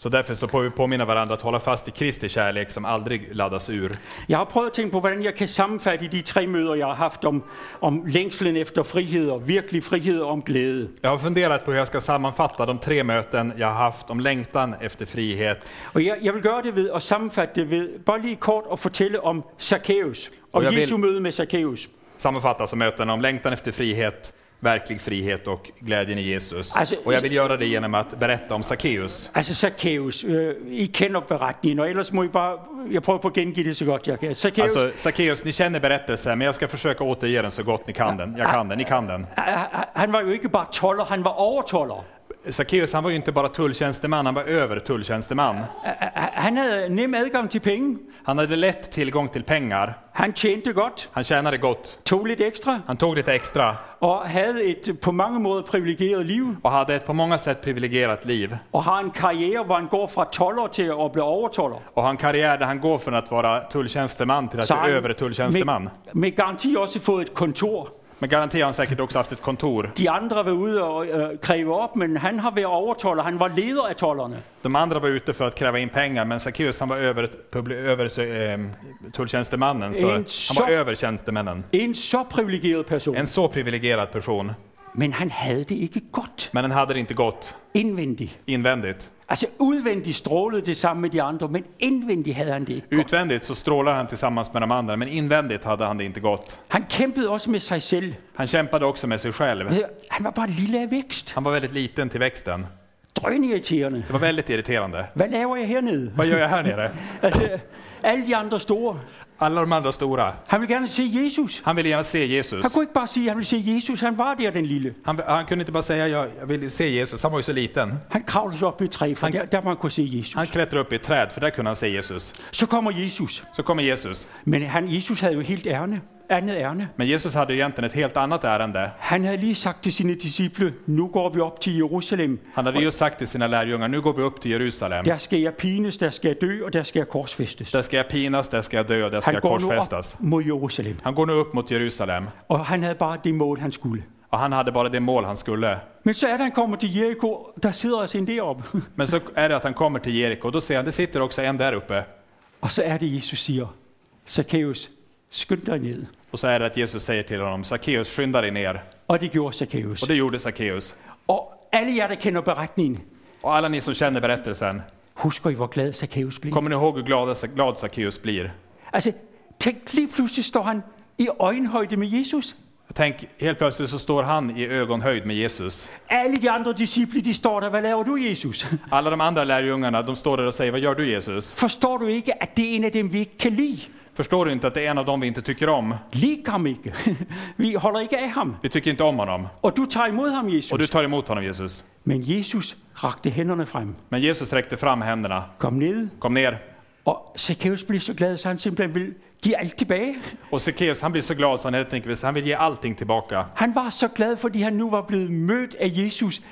Speaker 2: Så därför så får vi påminna varandra att hålla fast i Kristi kärlek som aldrig laddas ur.
Speaker 1: Jeg har prøvet at tænke på, hvordan jeg kan sammenfatte de tre møder, jeg har haft om, om længslen efter frihed og virkelig frihed og om glæde.
Speaker 2: Jag har funderat på hur jag ska sammanfatta de tre möten jeg har haft om längtan efter frihet.
Speaker 1: Og jeg, jeg vil gøre det ved at sammenfatte det ved bare lige kort at fortælle om Zacchaeus og,
Speaker 2: Og jeg vil-
Speaker 1: Jesu møde med Zacchaeus.
Speaker 2: Sammanfatta som mötena om längtan efter frihet, verklig frihet och glädjen i Jesus.
Speaker 1: Alltså-
Speaker 2: Och jag vill göra det genom att berätta om Sackeus.
Speaker 1: Altså Zacchaeus, øh, I kender beretningen, og ellers må I bare, jeg prøver på at gengive det så godt jeg kan. Zacchaeus,
Speaker 2: Alltså Sackeus, ni känner berättelsen, men jag ska försöka återge den så gott ni kan den. Jag kan den, ni kan den.
Speaker 1: ah, ah, han var jo ikke bare toller, han var overtoller.
Speaker 2: Sackeus, han var ju inte bara tulltjänsteman, han var över tulltjänsteman.
Speaker 1: Ah, ah, Han havde nem adgang til penge,
Speaker 2: Han hade lätt tillgång till pengar,
Speaker 1: han tjente godt,
Speaker 2: han tjänade gott,
Speaker 1: tog lidt ekstra,
Speaker 2: han tog lite extra
Speaker 1: og havde et øh, på mange måder privilegeret liv,
Speaker 2: och hade ett på många sätt privilegierat liv.
Speaker 1: og har en karriere, hvor han går fra toller til at blive overtoller.
Speaker 2: Och har en karriär där han går från att vara tulltjänsteman till att bli
Speaker 1: han
Speaker 2: övre tulltjänsteman.
Speaker 1: med, med garanti også fået et kontor.
Speaker 2: Men garanterat har han säkert også haft ett kontor.
Speaker 1: De andre var ude og øh, kræve op, men han har været overtoller, han var leder af tollerne.
Speaker 2: De andra var ute för att kräva in pengar, men Sackeus han var över, publi- över eh, tulltjänstemannen, så
Speaker 1: En
Speaker 2: han
Speaker 1: så-
Speaker 2: var över tjänstemännen.
Speaker 1: En så privilegeret person.
Speaker 2: En så privilegierad person,
Speaker 1: Men han havde det ikke godt
Speaker 2: men han hade det inte gott
Speaker 1: indvendigt.
Speaker 2: invändigt.
Speaker 1: Altså udvendigt strålede det sammen med de andre, men indvendigt havde han det ikke.
Speaker 2: Utvändigt så strålar han tillsammans med de andra, men invändigt hade han det inte gott.
Speaker 1: Han kæmpede også med sig selv.
Speaker 2: Han kämpade også med sig själv.
Speaker 1: Han var bare lille af vækst.
Speaker 2: Han var väldigt liten till växten.
Speaker 1: Drønirriterende.
Speaker 2: Det var väldigt irriterande.
Speaker 1: Hvad laver jeg hernede?
Speaker 2: Vad gör jag här nere?
Speaker 1: Altså, alle de andre store.
Speaker 2: Alla de andra stora.
Speaker 1: Han ville gerne se Jesus.
Speaker 2: Han ville gärna se Jesus.
Speaker 1: Han kunne ikke bare sige, at han ville se Jesus. Han var der, den lille.
Speaker 2: Han, han kunde inte bara säga jag, jag vill se Jesus, han var ju så liten.
Speaker 1: Han kravlede sig op i et træ, for
Speaker 2: Han-
Speaker 1: der, der man kunne se Jesus.
Speaker 2: Han klättrade upp i ett träd, för där kunde han se Jesus.
Speaker 1: Så kommer Jesus.
Speaker 2: Så kommer Jesus.
Speaker 1: Men han, Jesus havde jo helt ærne. Andet ærne.
Speaker 2: Men Jesus hade ju egentligen ett helt annat ærende.
Speaker 1: Han havde lige sagt til sine disciple, nu går vi op til Jerusalem,
Speaker 2: Han hade just sagt till sina lärjungar, nu går vi upp till Jerusalem.
Speaker 1: Der skal jeg pines, der skal jeg dø, og der skal jeg korsfæstes.
Speaker 2: Där ska jag pinas, där ska jag dö, där ska
Speaker 1: Han
Speaker 2: jag
Speaker 1: går nu op
Speaker 2: korsfästas.
Speaker 1: mod Jerusalem,
Speaker 2: Han går nu upp mot Jerusalem.
Speaker 1: og han havde bare det mål, han skulle.
Speaker 2: Och han hade bara det mål han skulle.
Speaker 1: Men så er der, han kommer til Jericho, der sidder altså en deroppe.
Speaker 2: Men så är det att han kommer till Jeriko, och då ser han, det sitter också en där uppe.
Speaker 1: Og så er det, Jesus siger, Zacchaeus, skynd dig ned.
Speaker 2: Och så är det att Jesus säger till honom, Sackeus, skynda dig ner.
Speaker 1: Og det gjorde Zacchaeus.
Speaker 2: Och det gjorde Sackeus.
Speaker 1: Og alle jer, der kender beretningen,
Speaker 2: Och alla ni som känner berättelsen,
Speaker 1: husker I, hvor glad Zacchaeus blev?
Speaker 2: kommer ni ihåg hur glad, glad Sackeus blir?
Speaker 1: Altså, tænk lige pludselig står han i øjenhøjde med Jesus.
Speaker 2: Tänk, helt plötsligt så står han i ögonhöjd med Jesus.
Speaker 1: Alle de andre disciple, de står der, hvad laver du, Jesus?
Speaker 2: Alla de andra lärjungarna, de står där og säger, vad gör du Jesus?
Speaker 1: Forstår du ikke, at det er en af dem, vi ikke kan lide?
Speaker 2: Förstår du inte att det är en av dem vi inte tycker om?
Speaker 1: Lige ham ikke. Vi holder ikke af ham.
Speaker 2: Vi tycker inte om honom.
Speaker 1: Og du tager imod ham, Jesus.
Speaker 2: Och du tar emot honom Jesus.
Speaker 1: Men Jesus rakte hænderne frem,
Speaker 2: Men Jesus räckte fram händerna.
Speaker 1: kom ned,
Speaker 2: Kom ner.
Speaker 1: og Zacchaeus blev så glad, så han simpelthen ville give alt tilbage.
Speaker 2: Och Sackeus, han blir så glad så han helt enkelt vill- han vill ge allting tillbaka.
Speaker 1: Han var så glad, fordi han nu var blevet mødt af Jesus,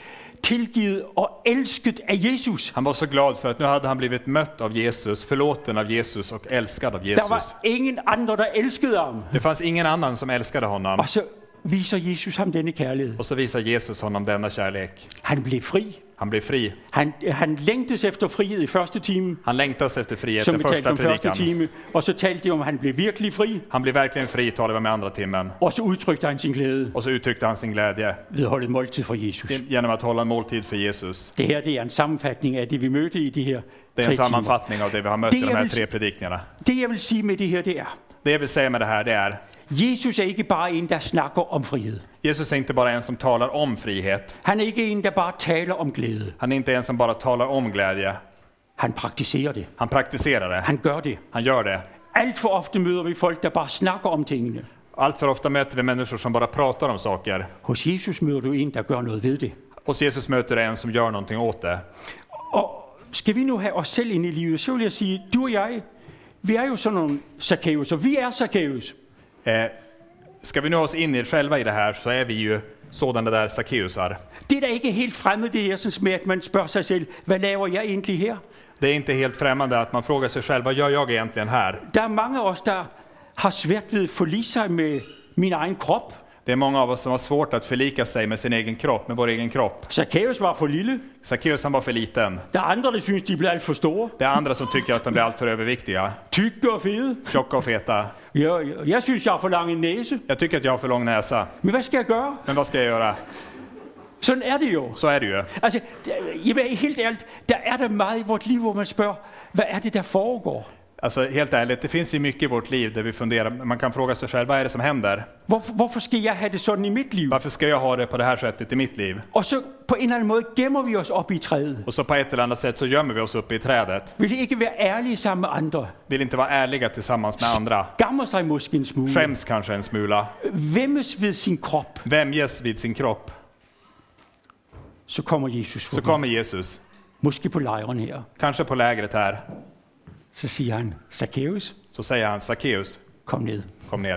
Speaker 1: tilgivet og elsket af Jesus.
Speaker 2: Han var så glad för att nu hade han blivit mött av Jesus, förlåten av Jesus och älskad av
Speaker 1: Der
Speaker 2: Jesus.
Speaker 1: var ingen andre, der elskede ham.
Speaker 2: Det fanns ingen annan som älskade honom.
Speaker 1: Og så viser Jesus ham denne kærlighed.
Speaker 2: Och så visar Jesus honom denna kärlek.
Speaker 1: Han blev fri.
Speaker 2: Han blir fri.
Speaker 1: Han, han længtes efter frihed i første time,
Speaker 2: Han längtas efter frihet,
Speaker 1: som
Speaker 2: den
Speaker 1: vi talte
Speaker 2: första
Speaker 1: om første
Speaker 2: predikan.
Speaker 1: time, og så talte de om, at han blev virkelig fri,
Speaker 2: Han blir verkligen fri, talar vi med andra timmen.
Speaker 1: og så udtrykte han sin glæde
Speaker 2: Och så uttryckte han sin glädje
Speaker 1: ved at holde måltid for Jesus.
Speaker 2: genom att hålla en måltid för Jesus.
Speaker 1: Det her det er en sammenfatning af det, vi mødte i de her
Speaker 2: Det är
Speaker 1: tre
Speaker 2: en
Speaker 1: timer.
Speaker 2: sammanfattning av det vi har mött i de här tre predikningarna.
Speaker 1: Det jeg vil sige med det her, det er,
Speaker 2: Det jag vill säga med det här, det är
Speaker 1: Jesus er ikke bare en, der snakker om frihed.
Speaker 2: Jesus är inte bara en som talar om frihet.
Speaker 1: Han er ikke en, der bare taler om glæde.
Speaker 2: Han är inte en som bara talar om glädje.
Speaker 1: Han praktiserer det.
Speaker 2: Han praktiserar det.
Speaker 1: Han gør det.
Speaker 2: Han gör det.
Speaker 1: Alt for ofte møder vi folk, der bare snakker om tingene.
Speaker 2: Allt för ofta möter vi människor som bara pratar om saker.
Speaker 1: Hos Jesus møder du en, der gør noget ved det.
Speaker 2: Hos Jesus möter du en som gör någonting åt det.
Speaker 1: Og skal vi nu have os selv ind i livet, så vil jeg sige, du og jeg, vi er jo sådan nogle Zacchaeus, og vi er Zacchaeus.
Speaker 2: Eh, ska vi nu ha oss in i själva i det här så är vi ju sådana där Sackeusar.
Speaker 1: Det er da ikke helt fremmed, det her sådan med, at man spørger sig selv, hvad laver jeg egentlig her?
Speaker 2: Det är inte helt främmande att man frågar sig själv, vad gör jag egentligen här?
Speaker 1: Der er mange af os, der har svært ved at forlige sig med min egen krop.
Speaker 2: Det är många av oss som har svårt att förlika sig med sin egen kropp, med vår egen kropp.
Speaker 1: Zacchaeus var for lille.
Speaker 2: Sackeus han var för liten.
Speaker 1: Der er andre, der synes, de bliver alt for store.
Speaker 2: Det är andra som tycker att de blir alltför överviktiga,
Speaker 1: Tykke og fede.
Speaker 2: tjocka och feta.
Speaker 1: Jeg, jeg, jeg synes, jeg har for lang en næse.
Speaker 2: Jag tycker att jag har för lång näsa,
Speaker 1: Men hvad skal jeg gøre?
Speaker 2: men vad ska jag göra?
Speaker 1: Sådan er det jo.
Speaker 2: Så är det ju.
Speaker 1: Altså, det- jamen, helt ærligt, der er der meget i vort liv, hvor man spørger, hvad er det, der foregår?
Speaker 2: Alltså helt ärligt, det finns ju mycket i vårt liv där vi funderar, man kan fråga sig själv, vad är det som händer?
Speaker 1: Hvorfor, hvorfor skal jeg have det sådan i mit liv?
Speaker 2: Varför ska jag ha det på det här sättet i mitt liv?
Speaker 1: Og så på en eller anden måde gemmer vi os op i træet.
Speaker 2: Och så på ett eller annat sätt så gömmer vi oss uppe i trädet.
Speaker 1: Vil ikke være ærlige sammen med andre.
Speaker 2: Vill inte vara ärliga tillsammans med andra.
Speaker 1: Gammer sig måske en smule.
Speaker 2: Skäms kanske en smula.
Speaker 1: Vemmes ved sin krop,
Speaker 2: Vämjes vid sin kropp.
Speaker 1: så kommer Jesus
Speaker 2: Så
Speaker 1: forbi.
Speaker 2: kommer Jesus,
Speaker 1: Måske på lejren her.
Speaker 2: kanske på lägret här.
Speaker 1: Så siger han, Zacchaeus,
Speaker 2: Så säger han, Sackeus,
Speaker 1: kom ned.
Speaker 2: kom ner.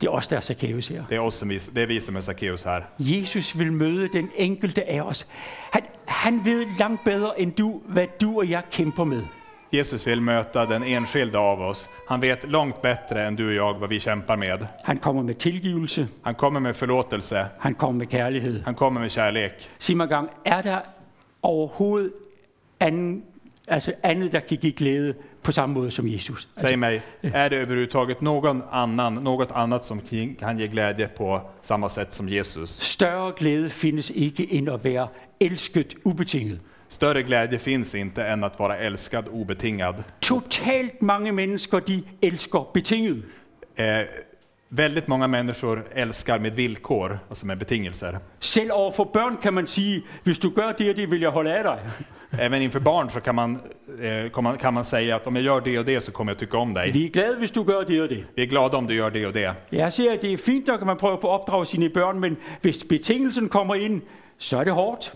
Speaker 1: Det er os, der er Zacchaeus her.
Speaker 2: Det är, oss som vi, det är vi som är Sackeus här.
Speaker 1: Jesus vil møde den enkelte af os. Han, han ved langt bedre end du, hvad du og jeg kæmper med.
Speaker 2: Jesus vill möta den enskilda av oss. Han vet långt bättre än du och jag vad vi kämpar med.
Speaker 1: Han kommer med tilgivelse.
Speaker 2: Han kommer med förlåtelse.
Speaker 1: Han kommer med kærlighed.
Speaker 2: Han kommer med kärlek.
Speaker 1: Sig mig gang, er der overhovedet anden, altså andet, der kan give glæde på samme måde som Jesus?
Speaker 2: Säg mig, är det överhuvudtaget någon annan, något annat som kan ge glädje på samma sätt som Jesus?
Speaker 1: Større glæde findes ikke end at være elsket ubetinget.
Speaker 2: Större glädje finns inte än att vara älskad obetingad.
Speaker 1: Totalt mange mennesker, de elsker betinget.
Speaker 2: Eh, väldigt många människor älskar med villkor, alltså med betingelser.
Speaker 1: Selv over for børn kan man sige, hvis du gør det og det, vil jeg holde af dig.
Speaker 2: Även inför barn så kan man, eh, kan man, kan man säga att om jag gör det och det så kommer jag tycka om dig.
Speaker 1: Vi er glade, hvis du gør det og det.
Speaker 2: Vi är glada om du gör det och det.
Speaker 1: Jeg siger, at det er fint nok, at man prøver på at opdrage sine børn, men hvis betingelsen kommer ind, så er det hårdt.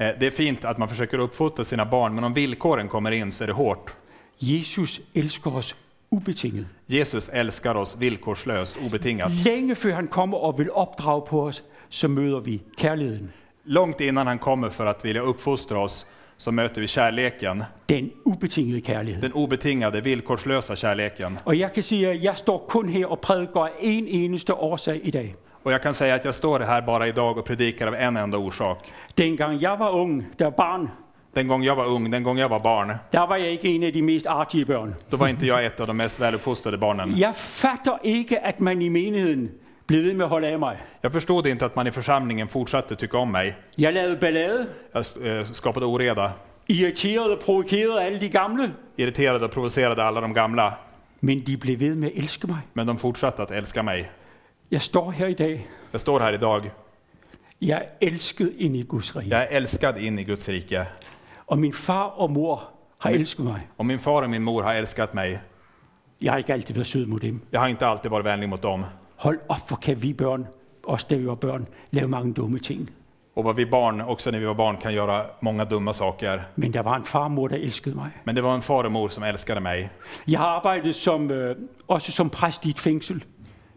Speaker 2: Eh, det är fint att man försöker uppfostra sina barn, men om villkoren kommer in så är det hårt.
Speaker 1: Jesus elsker os ubetinget.
Speaker 2: Jesus älskar oss villkorslöst, obetingat.
Speaker 1: Længe før han kommer og vil opdrage på os, så møder vi kærligheden.
Speaker 2: Långt innan han kommer för att vilja uppfostra oss så möter vi kärleken,
Speaker 1: Den ubetingede kærlighed.
Speaker 2: den obetingade, villkorslösa kärleken.
Speaker 1: Og jeg kan sige, at jeg står kun her og prædiker af en eneste årsag i dag.
Speaker 2: Och jag kan säga att jag står här bara idag och predikar av en enda orsak.
Speaker 1: Dengang jeg var ung, der var barn,
Speaker 2: Den gång jeg var ung, den gång jag var barn,
Speaker 1: der var jeg ikke en af de mest artige børn.
Speaker 2: då var inte jag ett av de mest väluppfostrade barnen.
Speaker 1: Jeg fatter ikke, at man i menigheden blev ved med at holde af mig.
Speaker 2: Jag förstod inte att man i församlingen fortsatte tycka om mig.
Speaker 1: Jeg lavede ballade,
Speaker 2: Jag eh, skapade oreda,
Speaker 1: irriterede og provokerede alle de gamle,
Speaker 2: irriterade och provocerade alla de gamla.
Speaker 1: men de blev ved med at elske mig.
Speaker 2: Men de fortsatte att älska mig.
Speaker 1: Jeg står her i dag.
Speaker 2: Jag står här idag.
Speaker 1: Jeg er elsket ind i Guds rige.
Speaker 2: Jag är älskad in i Guds rike.
Speaker 1: Og min far og mor har elsket mig.
Speaker 2: Och min far och min mor har älskat mig.
Speaker 1: Jeg har ikke altid været sød mod dem.
Speaker 2: Jag har inte alltid varit vänlig mot dem.
Speaker 1: Hold op, hvor kan vi børn, os der vi var børn, lave mange dumme ting.
Speaker 2: Och vad vi barn, också när vi var barn, kan göra många dumma saker.
Speaker 1: Men der var en farmor, der elskede mig.
Speaker 2: Men det var en far och mor som älskade mig.
Speaker 1: Jeg har arbejdet som, øh, också som præst i et fængsel.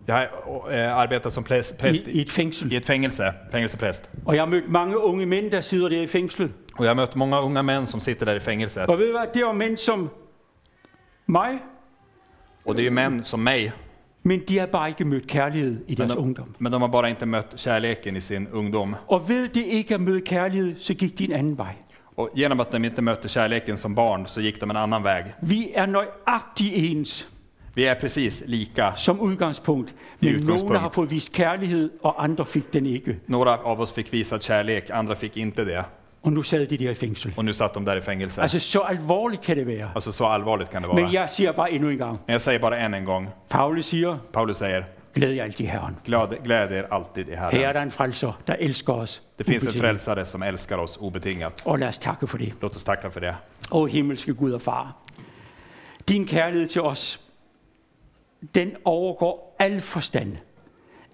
Speaker 2: Jag har eh, arbetat som präst, präst
Speaker 1: I, I
Speaker 2: i,
Speaker 1: et fængsel.
Speaker 2: i ett fängelse, fängelsepräst.
Speaker 1: Og jag har mødt mange unge mænd, der sidder der i fængslet.
Speaker 2: Och jag har mött många unga män som sitter där i fängelset.
Speaker 1: Og ved du hvad, det var mænd som mig,
Speaker 2: Och det är ju män som mig
Speaker 1: Men de har bare ikke mødt kærlighed i
Speaker 2: Men
Speaker 1: deres
Speaker 2: de,
Speaker 1: ungdom.
Speaker 2: men de har bara inte mött kärleken i sin ungdom.
Speaker 1: Og ved de ikke at møde kærlighed, så gik de en anden vej.
Speaker 2: Och genom att de inte mötte kärleken som barn så gick de en annan väg.
Speaker 1: Vi er nøjagtig ens
Speaker 2: Vi är precis lika.
Speaker 1: som udgangspunkt, men
Speaker 2: udgangspunkt.
Speaker 1: nogle har fået vist kærlighed, og andre fik den ikke.
Speaker 2: Några av oss fick visad kärlek, andra fick inte det.
Speaker 1: Og nu sad de der i fængsel.
Speaker 2: Och nu satt de där i fängelse.
Speaker 1: Altså, så alvorligt kan det være.
Speaker 2: Alltså så allvarligt kan det vara.
Speaker 1: Men jeg siger bare endnu en gang.
Speaker 2: Men jag säger bara än en gång.
Speaker 1: Paulus siger,
Speaker 2: Paulus säger,
Speaker 1: glæd jer altid i Herren.
Speaker 2: glad, gläd er alltid i
Speaker 1: Her er
Speaker 2: Herren.
Speaker 1: der en frelser, der elsker os.
Speaker 2: Det finns en
Speaker 1: ubetinget.
Speaker 2: frälsare som älskar oss obetingat.
Speaker 1: Og lad os takke for det.
Speaker 2: Låt oss tacka för det.
Speaker 1: Åh himmelske Gud og Far, din kærlighed til os, den overgår al forstand.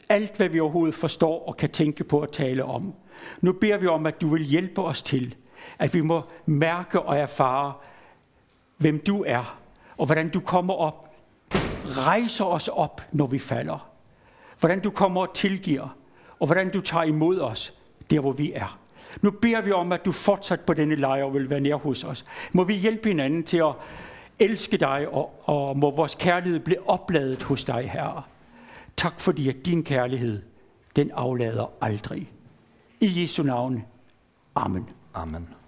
Speaker 1: Alt, hvad vi overhovedet forstår og kan tænke på at tale om. Nu beder vi om, at du vil hjælpe os til, at vi må mærke og erfare, hvem du er, og hvordan du kommer op, rejser os op, når vi falder. Hvordan du kommer og tilgiver, og hvordan du tager imod os, der hvor vi er. Nu beder vi om, at du fortsat på denne lejr vil være nær hos os. Må vi hjælpe hinanden til at elske dig, og, og må vores kærlighed blive opladet hos dig, Herre. Tak fordi, at din kærlighed, den aflader aldrig. I Jesu navn. Amen.
Speaker 2: Amen.